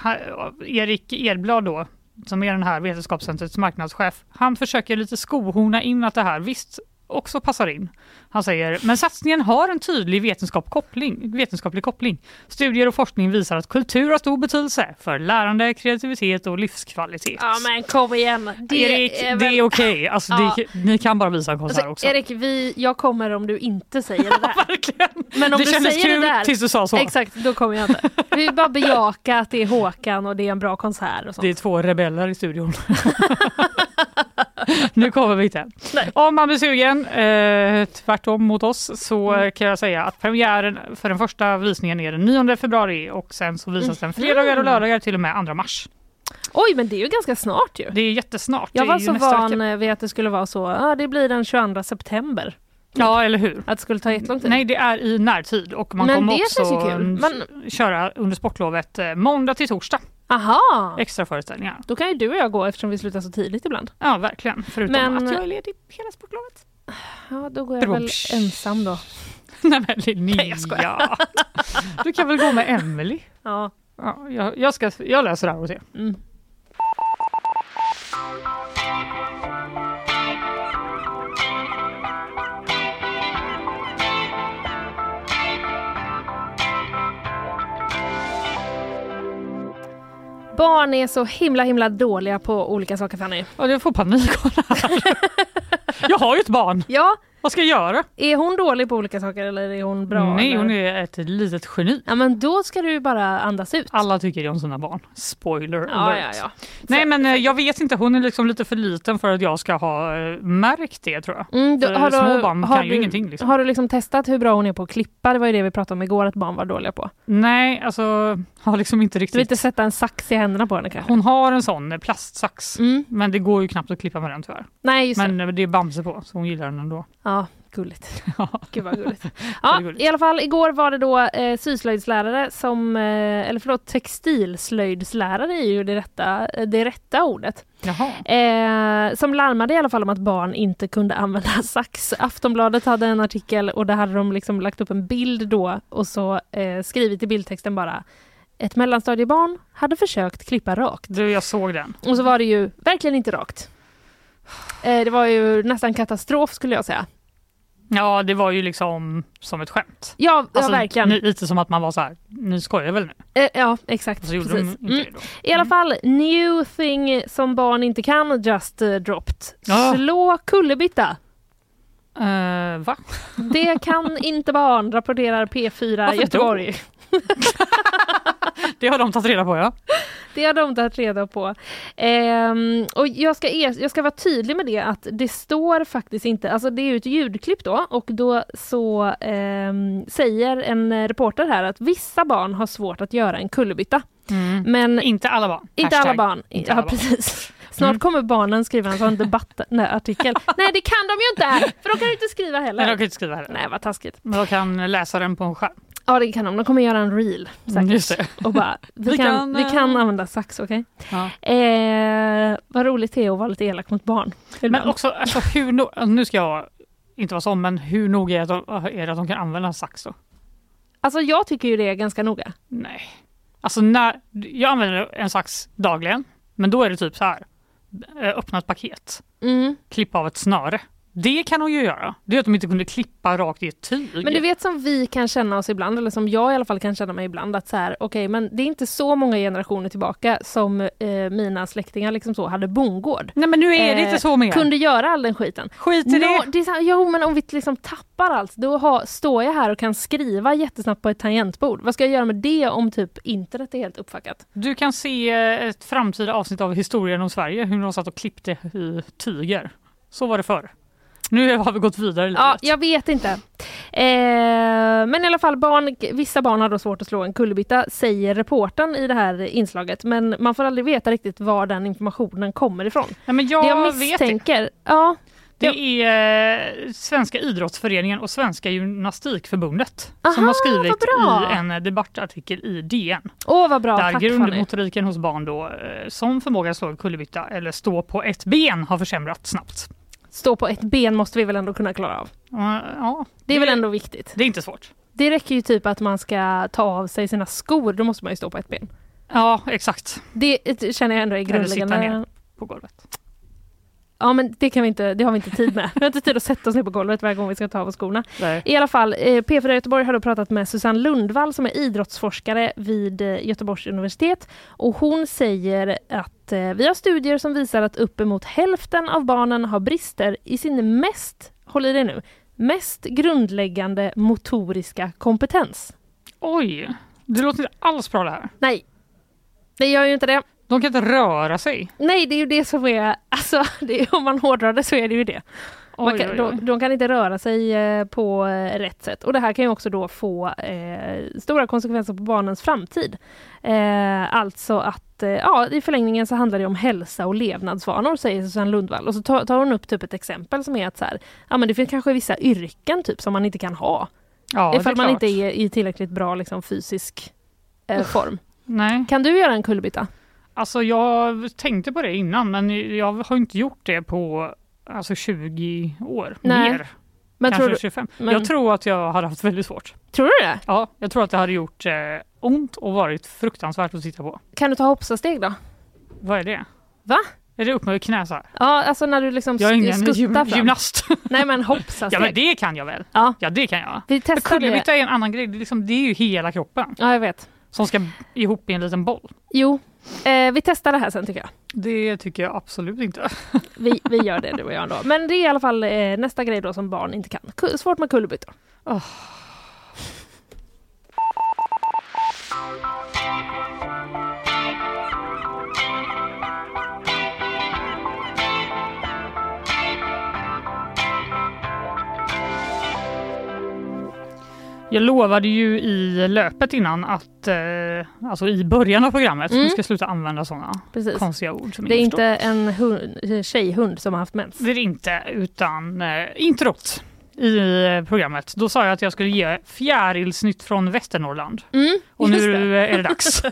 ha- Erik Edblad då, som är den här Vetenskapscentrets marknadschef, han försöker lite skohorna in att det här visst också passar in. Han säger, men satsningen har en tydlig vetenskap koppling, vetenskaplig koppling. Studier och forskning visar att kultur har stor betydelse för lärande, kreativitet och livskvalitet. Ja men kom igen. Erik, det är okej. Alltså, det- Ja. Ni kan bara visa en konsert Alltså, också. Erik, vi, jag kommer om du inte säger det där. Men om <laughs> Det du kändes säger kul det där, tills du sa så. Exakt, då kommer jag inte. Vi bara bejaka att det är Håkan och det är en bra konsert och sånt. Det är två rebeller i studion. <laughs> nu kommer vi inte. Om man blir sugen, eh, tvärtom mot oss, så Mm. eh, kan jag säga att premiären för den första visningen är den 9 februari och sen så Mm. visas den fredagar och lördagar till och med 2 mars. Oj, men det är ju ganska snart ju. Det är jättesnart. Jag det är var ju så nästa van vecka. eh, vid att det skulle vara så, ja det blir den 22 september. Ja, eller hur? Att det skulle ta jättelång tid. Nej, det är i närtid och man Men kommer det också känns ju kul. mm, köra under sportlovet eh, måndag till torsdag. Aha! Extra föreställningar. Då kan ju du och jag gå eftersom vi slutar så tidigt ibland. Ja, verkligen. Förutom Men- att jag är ledig hela sportlovet. Ja, då går jag väl Bromsch. ensam då. <laughs> Nej men Linnea! Nej, jag skojar. Du kan väl gå med Emily? Ja. Ja, jag, jag, ska, jag läser det här hos er. Barn är så himla himla dåliga på olika saker Fanny. Ja, jag får panik av det <laughs> här. Jag har ju ett barn. Ja, Vad ska jag göra? är hon dålig på olika saker eller är hon bra? Nej, eller? hon är ett litet geni. Ja men då ska du ju bara andas ut. Alla tycker det om sina barn. Spoiler Ja, alert. ja, ja. Nej men eh, jag vet inte, hon är liksom lite för liten för att jag ska ha eh, märkt det tror jag. Mm, då- För små barn kan ju ingenting. Liksom. Har du liksom testat hur bra hon är på att klippa? Det var ju det vi pratade om igår att barn var dåliga på. Nej, alltså har liksom Du inte vill riktigt. inte sätta en sax i händerna på henne kanske? Hon har en sån eh, plastsax Mm. men det går ju knappt att klippa med den tyvärr. Nej just det. Men eh, det är Bamse på så hon gillar <laughs> den ändå. Ja, gulligt. Ja. <laughs> Gud vad gulligt. är Ja, gulligt. i alla fall igår var det då eh, syslöjdslärare som, eh, eller förlåt textilslöjdslärare är ju det rätta, eh, det rätta ordet. Jaha. Eh, som larmade i alla fall om att barn inte kunde använda <laughs> sax. Aftonbladet hade en artikel och där hade de liksom lagt upp en bild då och så eh, skrivit i bildtexten bara ett mellanstadiebarn hade försökt klippa rakt. Du, jag såg den. Och så var det ju verkligen inte rakt. Eh, det var ju nästan katastrof skulle jag säga. Ja, det var ju liksom som ett skämt. Ja, Alltså, ja verkligen. ni- Lite som att man var så här, ni skojar väl nu? Eh, ja, exakt. Och så gjorde Precis. de inte Mm. det då. I alla fall, new thing som barn inte kan, just eh, dropped. Ja. Slå kullerbytta. Uh, va? <laughs> Det kan <laughs> inte barn, rapporterar P4 Varför Göteborg. Det har de tagit reda på ja. Det har de tagit reda på. Ehm, och jag ska, er, jag ska vara tydlig med det att det står faktiskt inte, alltså det är ju ett ljudklipp då och då så ehm, säger en eh, reporter här att vissa barn har svårt att göra en kullerbytta. Mm. Men inte alla barn. Inte Hashtag, alla barn. inte ja, alla barn. Mm. precis. Snart kommer barnen skriva en sån <laughs> debattartikel. Nej, det kan de ju inte! För de kan ju inte skriva heller. Nej, de kan ju inte skriva heller. Nej, vad taskigt. Men de kan läsa den på en skärm. Ja, det kan de. De kommer göra en reel <laughs> säkert. Mm, just det. Och <laughs> bara, vi, Vi kan, kan, vi eh, kan använda sax, okej? Eh, vad roligt det är att vara lite elak mot barn. Men Ibland. också, alltså, hur no- alltså, nu ska jag inte vara sån, men hur noga är det att de, är det att de kan använda sax då? Alltså jag tycker ju det är ganska noga. Nej. Alltså när, jag använder en sax dagligen, men då är det typ så här. eh, Öppna ett paket, Mm. klippa av ett snöre. Det kan hon ju göra. Det är att de inte kunde klippa rakt i ett tyg. Men du vet som vi kan känna oss ibland, eller som jag i alla fall kan känna mig ibland, att så här, okej, men det är inte så många generationer tillbaka som eh, mina släktingar liksom så hade bondgård. Nej men nu är det inte så mer. Eh, Kunde göra all den skiten. Skit i det. Nå, det är så här, jo men om vi liksom tappar allt, då har, står jag här och kan skriva jättesnabbt på ett tangentbord. Vad ska jag göra med det om typ internet är helt uppfuckat? Du kan se eh, ett framtida avsnitt av historien om Sverige, hur de satt och klippte i tyger. Så var det förr. Nu har vi gått vidare i livet. Ja, jag vet inte. Eh, men i alla fall, barn, vissa barn har då svårt att slå en kullerbytta, säger reportern i det här inslaget. Men man får aldrig veta riktigt var den informationen kommer ifrån. Nej, men jag, det jag vet det. misstänker... ja, Det är eh, Svenska idrottsföreningen och Svenska gymnastikförbundet som Aha, har skrivit vad bra. i en eh, debattartikel i DN. åh vad bra, där tack Fanny. grundmotoriken hos barn då, eh, som förmåga att slå en kullerbytta eller stå på ett ben har försämrats snabbt. Stå på ett ben måste vi väl ändå kunna klara av. Eh, Ja, Det är väl ändå viktigt. det är inte svårt. Det räcker ju typ att man ska ta av sig sina skor, då måste man ju stå på ett ben. Ja, exakt. Det eh, känner jag ändå är Eller sitta grundläggande. ner på golvet. Ja men det, kan vi inte, det har vi inte tid med. Vi har inte tid att sätta oss ner på golvet varje gång vi ska ta av oss skorna. Nej. I alla fall, eh, P4 Göteborg har då pratat med Susanne Lundvall som är idrottsforskare vid eh, Göteborgs universitet. Och hon säger att eh, vi har studier som visar att uppemot hälften av barnen har brister i sin mest, håll i dig nu, mest grundläggande motoriska kompetens. Oj, det låter inte alls bra det här. Nej, det gör ju inte det. De kan inte röra sig. Nej, det är ju det som är, alltså <laughs> det är, om man hårdrar det så är det ju det. Man Oj, kan, oj, oj. De, de kan inte röra sig eh, på eh, rätt sätt. Och det här kan ju också då få eh, stora konsekvenser på barnens framtid. Eh, alltså att eh, ja, i förlängningen så handlar det om hälsa och levnadsvanor, säger Susanne Lundvall. Och så tar, tar hon upp typ ett exempel som är att så här, ja, men det finns kanske vissa yrken typ, som man inte kan ha. Ja, det är ifall man klart. inte är i tillräckligt bra liksom, fysisk eh, form. Nej. Kan du göra en kullerbytta? Alltså jag tänkte på det innan men jag har inte gjort det på alltså 20 år. Nej. Mer. Men kanske tror, du, 25. men- Jag tror att jag hade haft väldigt svårt. tror du det? Ja, jag tror att det hade gjort eh, ont och varit fruktansvärt att titta på. Kan du ta hoppsasteg då? Vad är det? Va? Är det upp med knä så här? Ja, alltså när du liksom Jag är ingen skuttar gym- fram. gymnast. Nej men ja hoppsasteg. men det kan jag väl? Ja. Ja det kan jag. Vi Men testar det. Kullerbytta är en annan grej, det är, liksom, det är ju hela kroppen Ja, jag vet. som ska ihop i en liten boll. Jo, eh, vi testar det här sen tycker jag. Det tycker jag absolut inte. Vi, vi gör det du och jag ändå. Men det är i alla fall eh, nästa grej då som barn inte kan. Ku- Svårt med kullerbyttor. Åh. Jag lovade ju i löpet innan att, eh, alltså i början av programmet, Mm. vi ska sluta använda sådana Precis. konstiga ord som Det är ingen förstår. inte en hund, eh, tjejhund som har haft mens. Det är det inte, utan eh, introt i eh, programmet. Då sa jag att jag skulle ge fjärilsnytt från Västernorrland. Mm, Och just det. nu eh, är det <laughs> dags.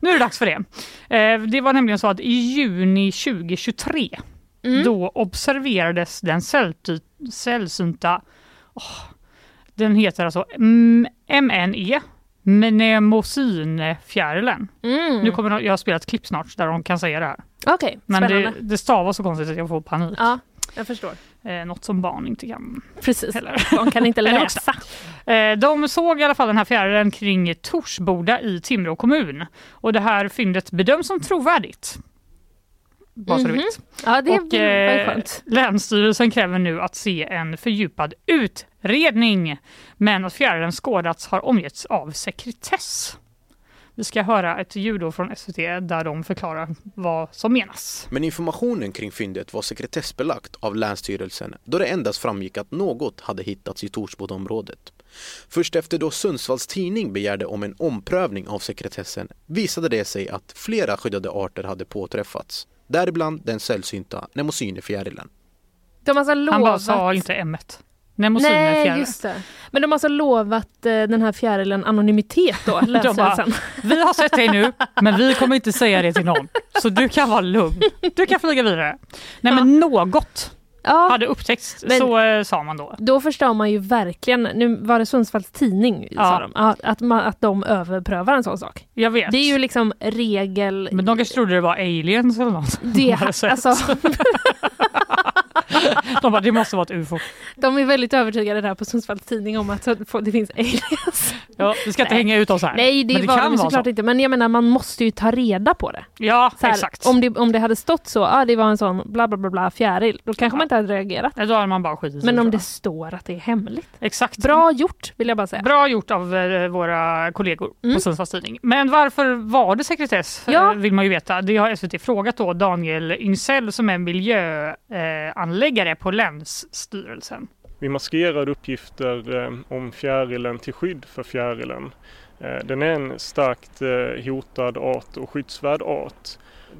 nu är det dags för det. Eh, det var nämligen så att i juni 2023 Mm. då observerades den sällty- sällsynta, åh, den heter alltså M- E, MNE, mnemosynfjärilen. Mm. Nu kommer de, jag har spelat klipp snart där de kan säga det här. Okej, Men spännande. det, det stavas så konstigt att jag får panik. Ja, jag förstår. Eh, något som barn inte kan Precis. heller. Barn kan inte Eller läsa. Eh, De såg i alla fall den här fjärilen kring Torsboda i Timrå kommun. Och det här fyndet bedöms som trovärdigt. Bara så du Mhm. vet. Ja, det och, var ju eh, skönt. Länsstyrelsen kräver nu att se en fördjupad utredning. Men att fjärilen skådats har omgetts av sekretess. Vi ska höra ett ljud då från SVT där de förklarar vad som menas. Men informationen kring fyndet var sekretessbelagt av Länsstyrelsen då det endast framgick att något hade hittats i Torsbodaområdet. Först efter då Sundsvalls tidning begärde om en omprövning av sekretessen visade det sig att flera skyddade arter hade påträffats. Däribland den sällsynta nemosynefjärilen. De har alltså lovat... Han bara sa inte m Nej, just det. Men de har alltså lovat eh, den här fjärilen anonymitet <laughs> då, De bara, Länsstyrelsen. vi har sett dig nu, men vi kommer inte säga det till någon. Så du kan vara lugn. Du kan flyga vidare. Nej men något hade upptäckts, Men- så eh, sa man då. Då förstår man ju verkligen, nu var det Sundsvalls tidning Ja. sa de, Ja, att, man, att de överprövar en sån sak. Jag vet. Det är ju liksom regel... Men de kanske trodde det var aliens eller något. Det- <laughs> alltså. de bara, det måste vara ett ufo. <laughs> De är väldigt övertygade där på Sundsvalls tidning om att det finns aliens. Ja, vi ska inte hänga ut oss här. Nej, det, Men var de vara såklart så. inte. Men jag menar, man måste ju ta reda på det. Ja, Så här, exakt. Om, det, om det hade stått så, ah, det var en sån bla bla bla, bla fjäril, då kanske man inte hade reagerat. Då hade man bara skitit Men om det står att det är hemligt. Exakt. Bra gjort, vill jag bara säga. Bra gjort av eh, våra kollegor på Sundsvalls Tidning. Men varför var det sekretess? Mm. Ja. eh, vill man ju veta. Det har SVT frågat då Daniel Yngsell som är miljöanläggare eh, anläggare på Länsstyrelsen. Vi maskerar uppgifter eh, om fjärilen till skydd för fjärilen. Eh, den är en starkt eh, hotad art och skyddsvärd art.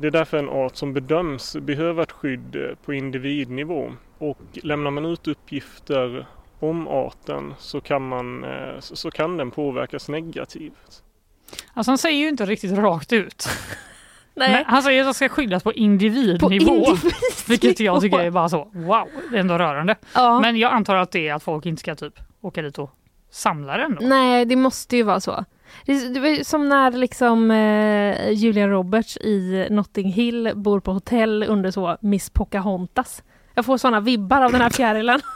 Det är därför en art som bedöms behöva ett skydd eh, på individnivå. Och lämnar man ut uppgifter om arten så kan, man, eh, så så kan den påverkas negativt. Alltså han säger ju inte riktigt rakt ut. Nej. Men han säger att det ska skyddas på individnivå. individnivå. <laughs> Vilket jag tycker är bara så, wow, det är ändå rörande. Ja. Men jag antar att det är att folk inte ska typ åka dit och samla den då. Nej, det måste ju vara så. Det, det var ju som när liksom, eh, Julia Roberts i Notting Hill bor på hotell under så Miss Pocahontas. Jag får såna vibbar av den här fjärilen. <laughs>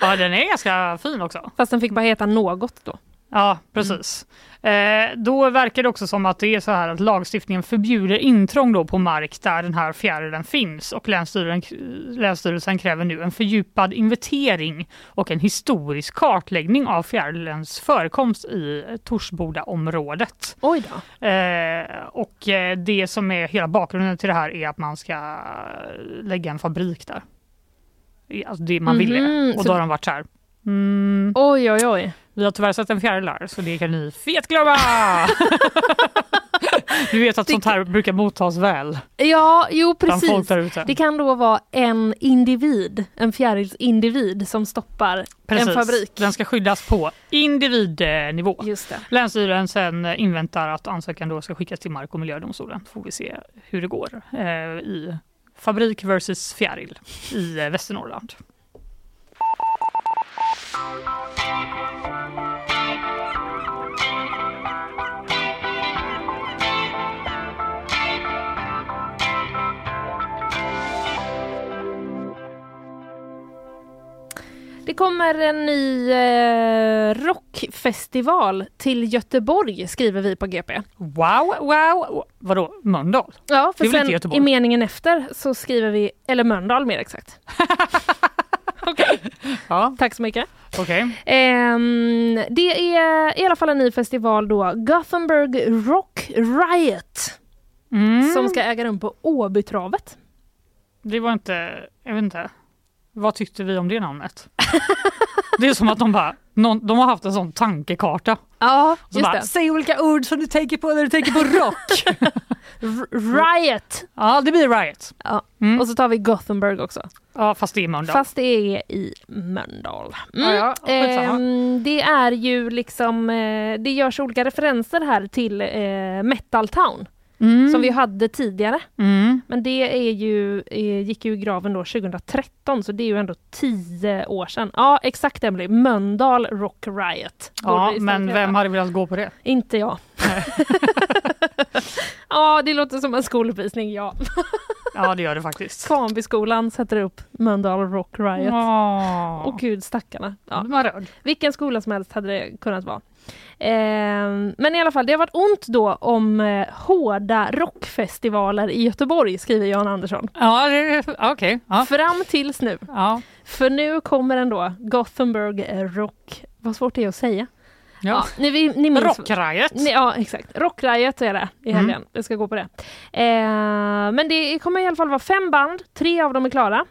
Ja, den är ganska fin också. Fast den fick bara heta något då. Ja, precis. Eh, då verkar det också som att det är så här att lagstiftningen förbjuder intrång då på mark där den här fjärilen finns och länsstyrelsen, länsstyrelsen kräver nu en fördjupad inventering och en historisk kartläggning av fjärilens förekomst i Torsbodaområdet. Oj då. Eh, och eh, det som är hela bakgrunden till det här är att man ska lägga en fabrik där. I- Alltså det man ville. Mhm, Och så- då har de varit så här. Mm, oj, oj, oj. Vi har tyvärr sett en fjäril där, så det kan ni <laughs> fet glömma! du vet att sånt här brukar mottas väl. Ja, jo Bland folk precis. där ute. Det kan då vara en individ, en fjärilsindivid som stoppar Precis. en fabrik. Den ska skyddas på individnivå. Just det. Länsstyrelsen inväntar att ansökan då ska skickas till Mark och miljödomstolen. Får vi se hur det går eh, i fabrik versus fjäril i eh, Västernorrland. Det kommer en ny eh, rockfestival till Göteborg skriver vi på GP. Wow, wow! Vadå, Mölndal? Ja, Det för är väl inte sen Göteborg? i meningen efter så skriver vi, eller Mölndal mer exakt. Ja, Tack så mycket. okej. Ehm, det är i alla fall en ny festival då, Gothenburg Rock Riot. Mm. Som ska äga rum på Åbytravet. Det var inte, jag vet inte. Vad tyckte vi om det namnet? <laughs> det är som att de bara, någon, de har haft en sån tankekarta. Ja, Så just bara, det. Säg olika ord som du tänker på när du tänker på rock. <laughs> Riot! ja, Mm. det blir riot. Ja. Och så tar vi Gothenburg också. Ja, fast det är Mölndal. Fast det är i Mölndal. Mm. Ja, ja, skitsamma. Ehm, det är ju liksom, eh, det görs olika referenser här till eh, Metal Town. Mm. Som vi hade tidigare. Mm. Men det är ju, eh, gick ju i graven då 2013 så det är ju ändå 10 år sedan. Ja exakt Emily, Mölndal Rock Riot. Ja, Borde vi men istället vem heta. hade velat gå på det? Inte jag. <laughs> ja det låter som en skoluppvisning ja. Ja, det gör <laughs> det faktiskt. Kvarnbyskolan sätter upp Mölndal Rock Riot. Åh, Och gud stackarna. Ja. man röd. Vilken skola som helst hade det kunnat vara. Ehm, men i alla fall, det har varit ont då om eh, hårda rockfestivaler i Göteborg, skriver Jan Andersson. Ja, okej. Fram tills nu. Ja. För nu kommer den då, Gothenburg eh, Rock... Vad svårt det är att säga. Ja. ni, vi- ni minns, Rock Riot. Ni, ja, exakt. Rock Riot är det i helgen. Mm. Jag ska gå på det. Eh, men det kommer i alla fall vara fem band, tre av dem är klara.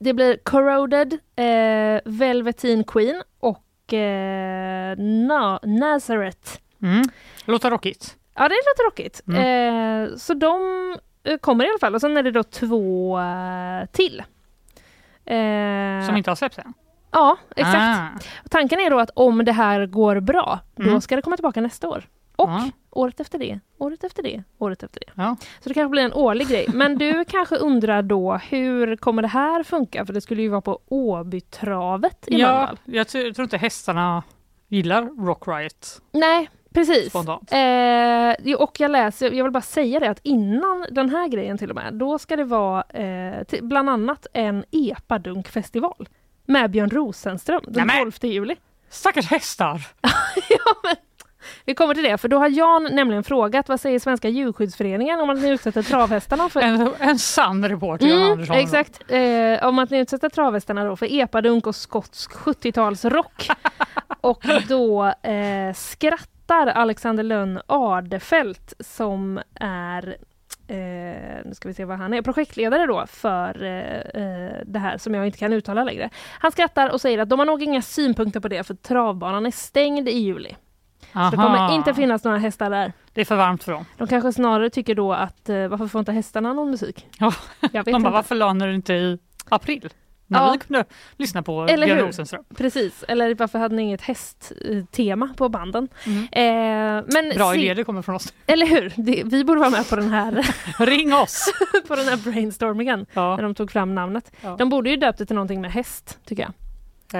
Det blir Corroded, eh, Velveteen Queen och eh, Na- Nazareth. Mm. Låter rockigt. Ja, det låter rockigt. Mm. Eh, så de eh, kommer i alla fall. Och sen är det då två eh, till. Eh, Som inte har släppts än. Ja, exakt. Och Tanken är då att om det här går bra, då Mm. ska det komma tillbaka nästa år. Ah. Och året efter det, året efter det, året efter det. Så det kanske blir en årlig grej. Men <laughs> du kanske undrar då, hur kommer det här funka? För det skulle ju vara på Åbytravet i Ja, Mölndal. jag tror tror inte hästarna gillar Rock Riot. Nej, precis. Spontant. Eh, jo, och jag läser, jag vill bara säga det att innan den här grejen till och med, då ska det vara eh, till, bland annat en epadunkfestival med Björn Rosenström den 12 juli. <laughs> Stackars hästar! Vi kommer till det, för då har Jan nämligen frågat vad säger Svenska djurskyddsföreningen om att ni utsätter travhästarna för... <laughs> En, en sann reporter, Jan Andersson. Mm, Exakt, eh, om att ni utsätter travhästarna då för epadunk och skotsk <laughs> 70-talsrock. och då eh, skrattar Alexander Lönn Ardefelt som är Eh, nu ska vi se vad han är, projektledare då för eh, eh, det här som jag inte kan uttala längre. Han skrattar och säger att de har nog inga synpunkter på det för travbanan är stängd i juli. Så det Aha. kommer inte finnas några hästar där. Det är för varmt för dem. De kanske snarare tycker då att eh, varför får inte hästarna någon musik? Ja. <laughs> Jag vet De bara, inte. varför la ni det inte i april? När Ja. vi kunde lyssna på Eller Björn hur? Rosenström. Precis, eller varför hade ni inget hästtema på banden? Eh, men Mm. Bra se- idé, det kommer från oss. <laughs> Eller hur? Det, vi borde vara med på den här <laughs> Ring oss! på den här brainstormingen när de tog fram namnet. Ja. De borde ju döpt det till någonting med häst, tycker jag.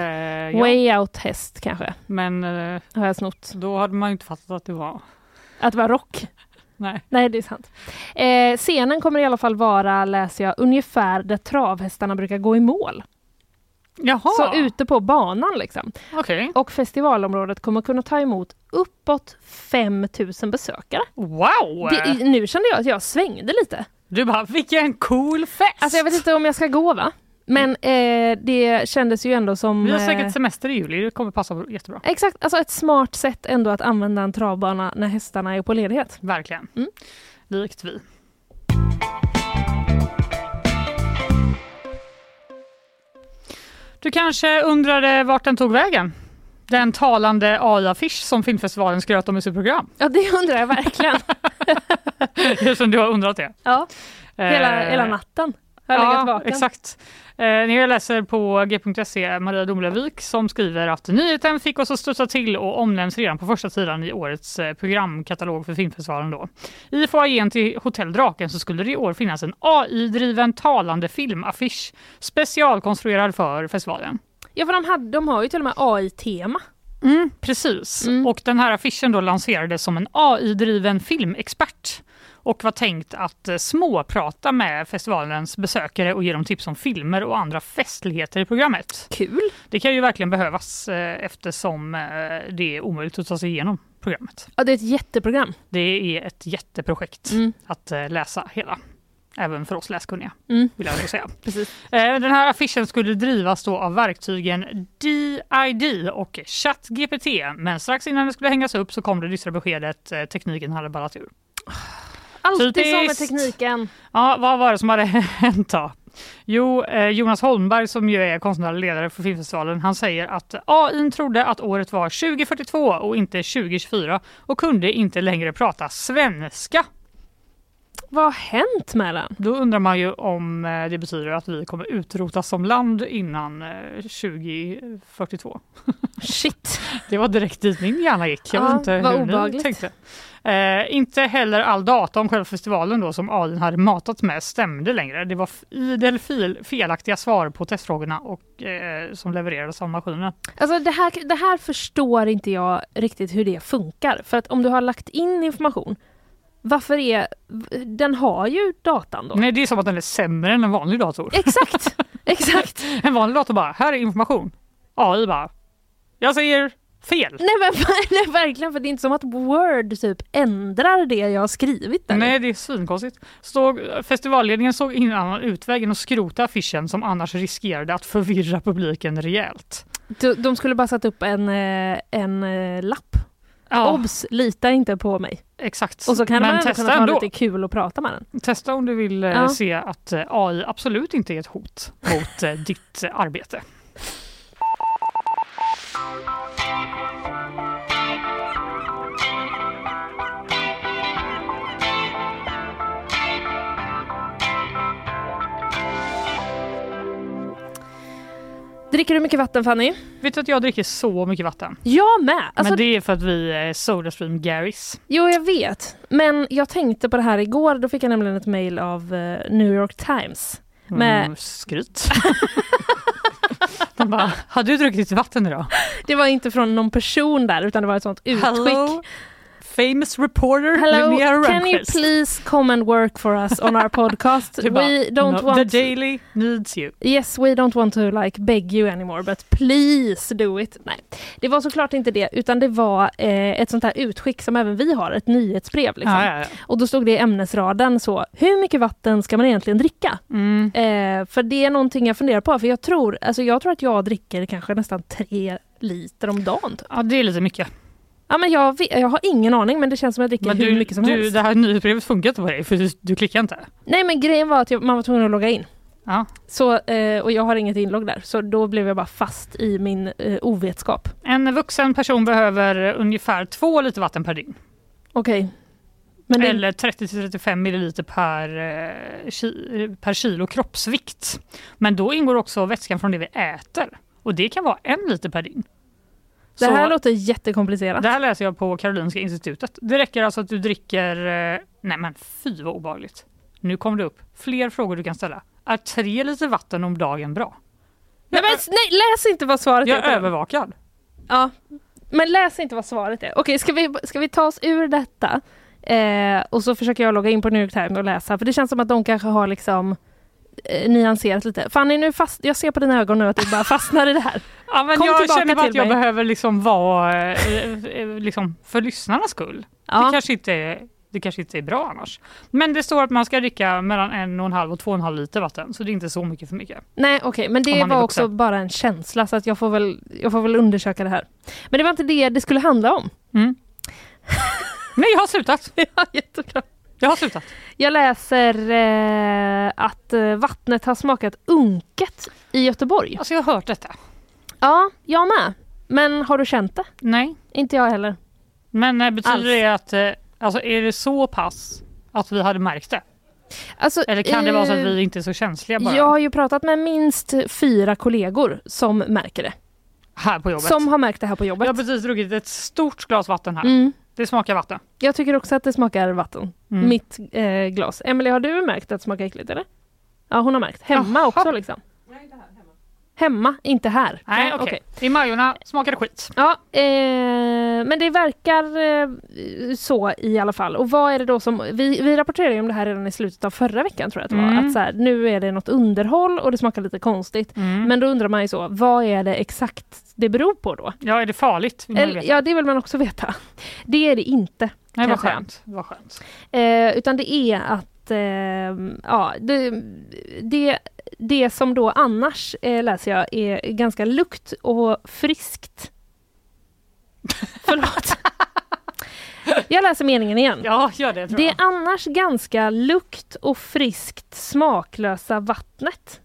Eh, ja. Way out häst kanske. Men eh, har jag snott. då hade man ju inte fattat att det var... Att det var rock. Nej. Nej, det är sant. Eh, scenen kommer i alla fall vara, läser jag, ungefär där travhästarna brukar gå i mål. Jaha. Så ute på banan liksom. Okej. Och festivalområdet kommer kunna ta emot uppåt 5000 besökare. Wow! Det, nu kände jag att jag svängde lite. Du bara, vilken cool fest! Alltså jag vet inte om jag ska gå va? Men eh, det kändes ju ändå som... Vi har eh, säkert semester i juli, det kommer passa jättebra. Exakt, alltså ett smart sätt ändå att använda en travbana när hästarna är på ledighet. Verkligen. Mm. Likt vi. Du kanske undrade vart den tog vägen? Den talande AI-affisch som filmfestivalen skröt om i <laughs> sitt program. Ja, det undrar jag verkligen. Eftersom du har undrat det. <laughs> Ja, hela, Eh, hela natten har jag legat ja, vaken. exakt. Eh, när jag läser på g.se Maria Domlevik som skriver att nyheten fick oss att studsa till och omnämns redan på första sidan i årets eh, programkatalog för filmfestivalen. Då. I foajén till Hotell Draken så skulle det i år finnas en AI-driven talande filmaffisch specialkonstruerad för festivalen. Ja, för de, hade, de har ju till och med AI-tema. Mm, precis. Och den här affischen då lanserades som en AI-driven filmexpert och var tänkt att eh, småprata med festivalens besökare och ge dem tips om filmer och andra festligheter i programmet. Kul! Det kan ju verkligen behövas eh, eftersom eh, det är omöjligt att ta sig igenom programmet. Ja, det är ett jätteprogram. Det är ett jätteprojekt att eh, läsa hela. Även för oss läskunniga, Mm. vill jag ändå säga. <laughs> Precis. Eh, Den här affischen skulle drivas då av verktygen DID och ChatGPT. Men strax innan den skulle hängas upp så kom det dystra beskedet eh, tekniken hade ballat ur. Alltid så med Typiskt. tekniken. Ja, vad var det som hade <laughs> hänt då? Jo, eh, Jonas Holmberg som ju är konstnärlig ledare för filmfestivalen, han säger att AI trodde att året var 2042 och inte 2024 och kunde inte längre prata svenska. Vad har hänt med den? Då undrar man ju om eh, det betyder att vi kommer utrotas som land innan eh, 2042. Shit! Det var direkt dit min hjärna gick. Jag Ja, vet inte vad hur obehagligt. ni tänkte. Eh, inte heller all data om själva festivalen då, som AI hade matat med stämde längre. Det var f- idel fil- felaktiga svar på testfrågorna och, eh, som levererades av maskinen. Alltså det här, det här förstår inte jag riktigt hur det funkar. För att om du har lagt in information, varför är... Den har ju datan då. Nej, det är som att den är sämre än en vanlig dator. <laughs> Exakt! Exakt! en vanlig dator bara, här är information. AI bara, jag säger fel. Nej men <laughs> nej, verkligen, för det är inte som att Word typ ändrar det jag har skrivit där. Nej, det är svinkonstigt. Stod, festivalledningen såg ingen annan utväg än att skrota affischen som annars riskerade att förvirra publiken rejält. De, de skulle bara satt upp en, eh, en eh, lapp. Obs, lita inte på mig. Exakt. Och så kan Men man ändå testa kunna ta ändå. lite kul och prata med den. Testa om du vill eh, Ja. se att eh, AI absolut inte är ett hot mot eh, ditt eh, arbete. Dricker du mycket vatten Fanny? Vet du att jag dricker så mycket vatten? Jag med! Alltså, Men det är för att vi är Sodastream Garys. Jo, jag vet. Men jag tänkte på det här igår. Då fick jag nämligen ett mejl av eh, New York Times. Med, Mm, skryt. De bara, har du druckit vatten idag? Det var inte från någon person där, utan det var ett sånt utskick. Hello, famous reporter Hello, Linnea can you Rönnqvist. please come and work for us on <laughs> our podcast? Du bara, we don't "No, want The Daily needs you. Yes, we don't want to like beg you anymore, but please do it. Nej, det var såklart inte det, utan det var eh, ett sånt här utskick som även vi har, ett nyhetsbrev. Liksom. Ah, Ja, ja, ja. Och då stod det i ämnesraden så, hur mycket vatten ska man egentligen dricka? Eh, för det är någonting jag funderar på, för jag tror, alltså jag tror att jag dricker kanske nästan tre liter om dagen. Typ. Ja, det är lite mycket. Ja, men jag, vet- jag har ingen aning, men det känns som att jag dricker Men hur du, mycket som du, helst. det här nyhetsbrevet funkar inte på dig för du, du klickar inte. Nej men grejen var att jag, man var tvungen att logga in. Ja. Så, eh, och jag har inget inlogg där, så då blev jag bara fast i min eh, ovetskap. En vuxen person behöver ungefär två liter vatten per dygn. Okej. Men det- Eller 30-35 milliliter per, eh, ki, eh, per kilo kroppsvikt. Men då ingår också vätskan från det vi äter. Och det kan vara en liter per dygn. Det här Så- låter jättekomplicerat. Det här läser jag på Karolinska institutet. Det räcker alltså att du dricker... eh, Nej men fy vad obehagligt. Nu kom det upp fler frågor du kan ställa. Är tre liter vatten om dagen bra? Nej, men, s- nej, läs inte vad svaret Jag är. är övervakad. Ja, men läs inte vad svaret är. Okej, ska, vi, ska vi ta oss ur detta? Eh, och så försöker jag logga in på New York Times och läsa, för det känns som att de kanske har liksom eh, nyanserat lite. Fanny, nu fast, jag ser på dina ögon nu att du <laughs> bara fastnar i det här. Ja, men Kom jag tillbaka känner bara till att jag mig. behöver liksom vara eh, eh, liksom för lyssnarnas skull. Det, kanske inte är, det kanske inte är bra annars. Men det står att man ska dricka mellan en och en halv och två och en halv liter vatten. Så det är inte så mycket för mycket. Nej okej, men Om det man är var vuxen. också bara en känsla så att jag får, väl, jag får väl undersöka det här. Men det var inte det det skulle handla <laughs> om. Nej, jag har slutat. ja, jättebra. Jag har slutat. Jag läser eh, att eh, vattnet har smakat unket i Göteborg. Alltså jag har hört detta. Ja, jag med. Men har du känt det? Nej. Inte jag heller. Men eh, betyder Alls. det att... eh, Alltså är det så pass att vi hade märkt det? Alltså, Eller kan det vara så att eh, vi inte är så känsliga bara? Jag har ju pratat med minst fyra kollegor som märker det. Här på jobbet. Som har märkt det här på jobbet. Jag har precis druckit ett stort glas vatten här. Mm. Det smakar vatten. Jag tycker också att det smakar vatten. Mm. Mitt eh, glas. Emelie, har du märkt att det smakar äckligt eller? Ja, hon har märkt. Hemma också liksom. Hemma, inte här. Nej, okej. I Majorna smakade skit. Ja, eh, men det verkar eh, så i alla fall. Och vad är det då som, vi, vi rapporterade ju om det här redan i slutet av förra veckan tror jag att det var. Mm. Att så här, nu är det något underhåll och det smakar lite konstigt. Mm. Men då undrar man ju så, vad är det exakt det beror på då? Ja, är det farligt? Vill man Eller, veta. ja, det vill man också veta. Det är det inte. Nej, kan vad jag säga. skönt. Vad skönt. Eh, utan det är att eh, ja, det, det, det som då annars eh, läser jag är ganska lukt och <laughs> friskt. Förlåt. Jag läser meningen igen. Ja, gör det. Tror Det jag. annars ganska lukt och friskt smaklösa <laughs> vattnet.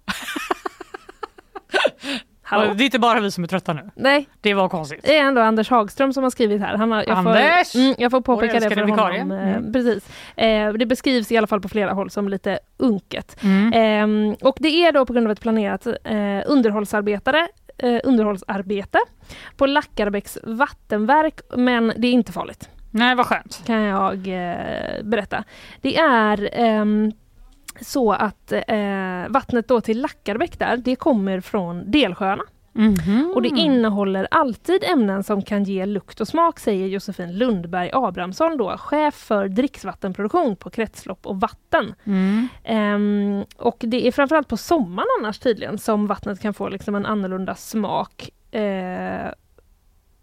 Hallå? Och Det är inte bara vi som är trötta nu. Nej, Det var konstigt. det är ändå Anders Hagström som har skrivit här. Han har, jag, Anders! Får, mm, jag får Vår påpeka det älskade för vikarie. honom. eh, Mm. Precis. Eh, det beskrivs i alla fall på flera håll som lite unket. Mm. Ehm, och det är då på grund av ett planerat eh, underhållsarbetare eh, underhållsarbete på Lackarbäcks vattenverk, men det är inte farligt. Nej, vad skönt. Kan jag eh, berätta. Det är ehm, så att eh, vattnet då till Lackarbäck där, det kommer från delsjöarna. Och det Mm. innehåller alltid ämnen som kan ge lukt och smak, säger Josefin Lundberg Abrahamsson, då, chef för dricksvattenproduktion på Kretslopp och vatten. Mm. Ehm, och det är framförallt på sommaren annars tydligen som vattnet kan få liksom en annorlunda smak. Eh,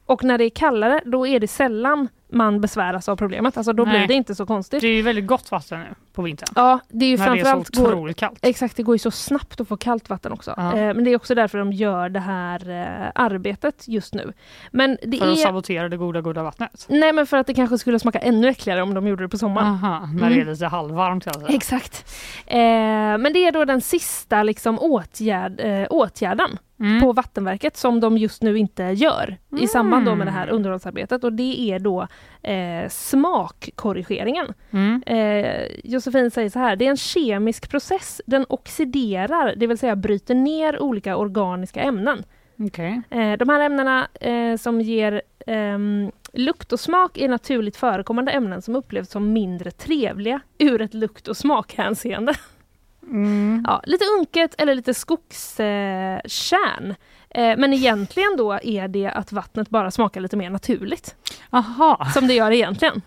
Och när det är kallare, då är det sällan man besväras av problemet. Alltså då blir Nej. det inte så konstigt. Det är ju väldigt gott vatten nu på vintern. Ja, det är ju När det är så framförallt... otroligt kallt. Exakt, det går ju så snabbt att få kallt vatten också. Ja. Eh, men det är också därför de gör det här eh, arbetet just nu. Men det För är... att sabotera det goda, goda vattnet. Nej, men för att det kanske skulle smaka ännu äckligare om de gjorde det på sommaren. Aha, när det är Mm. lite halvvarmt <laughs> alltså. Exakt. Eh, men det är då den sista liksom, åtgärd, eh, åtgärden Mm, på Vattenverket som de just nu inte gör i samband då med det här Mm. underhållsarbetet och det är då eh, smakkorrigeringen. Mm. Eh, Josefin säger så här, det är en kemisk process. Den oxiderar, det vill säga bryter ner olika organiska ämnen. Okej. Eh, de här ämnena eh, som ger ehm, lukt och smak är naturligt förekommande ämnen som upplevs som mindre trevliga ur ett lukt och smakhänseende. Ja, lite unket eller lite skogskärn. Eh, kärn. eh, men egentligen då är det att vattnet bara smakar lite mer naturligt. Aha. Som det gör egentligen.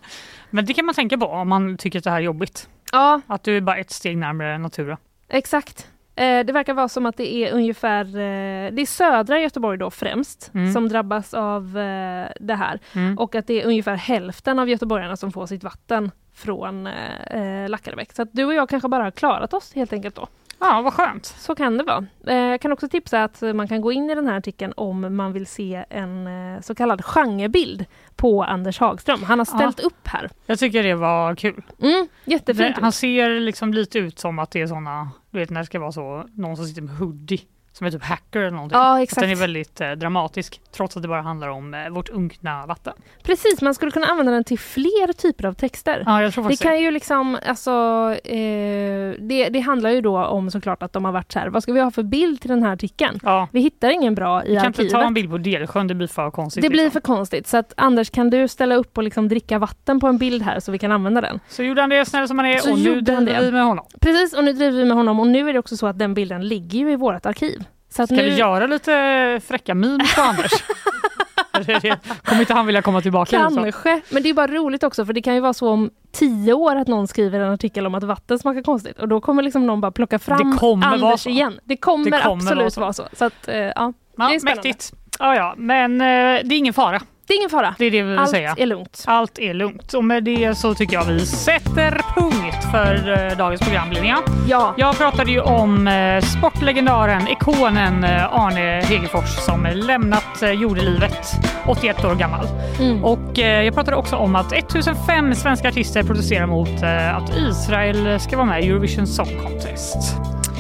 Men det kan man tänka på om man tycker att det här är jobbigt. Ja. Att du är bara ett steg närmare naturen. Exakt. Eh, det verkar vara som att det är ungefär, eh, det är södra Göteborg då främst Mm. som drabbas av eh, det här. Mm. Och att det är ungefär hälften av göteborgarna som får sitt vatten från eh, eh, Lackarebäck. Så att du och jag kanske bara har klarat oss helt enkelt då. Ja, vad skönt. Så kan det vara. Eh, Jag kan också tipsa att man kan gå in i den här artikeln om man vill se en eh, så kallad genrebild på Anders Hagström. Han har ställt upp här. Jag tycker det var kul. Mm, Det, jättefint. han ser liksom lite ut som att det är såna, du vet när det ska vara så, någon som sitter med hoodie som är typ hacker eller någonting. Ja, Att exakt. Den är väldigt eh, dramatisk trots att det bara handlar om eh, vårt unkna vatten. Precis, man skulle kunna använda den till fler typer av texter. Ja, jag tror det faktiskt kan ju liksom, alltså, eh, det, det handlar ju då om såklart att de har varit så här, vad ska vi ha för bild till den här artikeln? Vi hittar ingen bra i Vi kan arkivet. inte ta en bild på Delsjön, det blir för konstigt. det blir för liksom. konstigt. Så att Anders, kan du ställa upp och liksom dricka vatten på en bild här så vi kan använda den? Så gjorde han det snäll som han är Så och nu gjorde han driver det. vi med honom. Precis, och nu driver vi med honom och nu är det också så att den bilden ligger ju i vårt arkiv. Så att Ska nu... vi göra lite fräcka memes <laughs> på Anders? Eller är det- Kommer inte han vilja komma tillbaka? liksom? Kanske, men det är bara roligt också för det kan ju vara så om tio år att någon skriver en artikel om att vatten smakar konstigt och då kommer liksom någon bara plocka fram Det kommer Anders vara så. igen. Det kommer, Det kommer absolut vara vara så. så. så att, eh, ja, det är spännande. mäktigt. Ja, ja, men eh, det är ingen fara. Det är ingen fara. Det är det vi vill Allt säga. är lugnt. Allt är lugnt. Och med det så tycker jag vi sätter punkt för eh, dagens program, Linnea. Ja. Jag pratade ju om eh, sportlegendaren, ikonen eh, Arne Hegerfors som eh, lämnat eh, jordelivet 81 år gammal. Mm. Och eh, jag pratade också om att 1005 svenska artister protesterar mot eh, att Israel ska vara med i Eurovision Song Contest.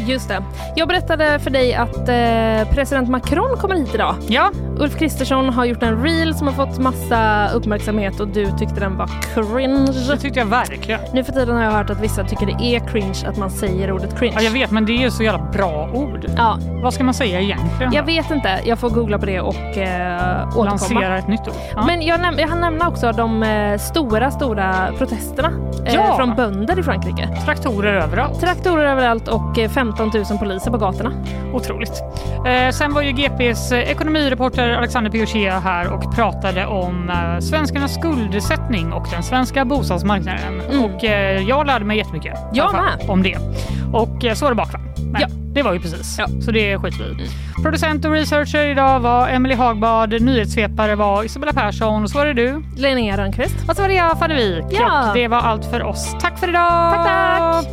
Just det. Jag berättade för dig att eh, president Macron kommer hit idag. Ja. Ulf Kristersson har gjort en reel som har fått massa uppmärksamhet och du tyckte den var cringe. Det tyckte jag verkligen. Nu för tiden har jag hört att vissa tycker det är cringe att man säger ordet cringe. Ja, jag vet, men det är ju så jävla bra ord. Ja. Vad ska man säga egentligen? Jag vet inte. Jag får googla på det och eh, återkomma. Lansera ett nytt ord. Ja. Men jag, näm- jag hann nämna också de eh, stora, stora protesterna eh, Ja. från bönder i Frankrike. Traktorer överallt. Traktorer överallt och eh, 15 000 poliser på gatorna. Otroligt. Eh, sen var ju GPs eh, ekonomireporter Alexander Piochet här och pratade om eh, svenskarnas skuldsättning och den svenska bostadsmarknaden. Och eh, jag lärde mig jättemycket i Jag alla fall, med. om det. Och eh, så var det bakvagn. Men det var ju precis. Så det skiter vi i. Producent och researcher idag var Emily Hagbard, nyhetssvepare var Isabella Persson och så var det du. Linnea Rönnqvist. Och så var det jag, Fanny Wijk. Ja. Och Det var allt för oss. Tack för idag! Tack, tack!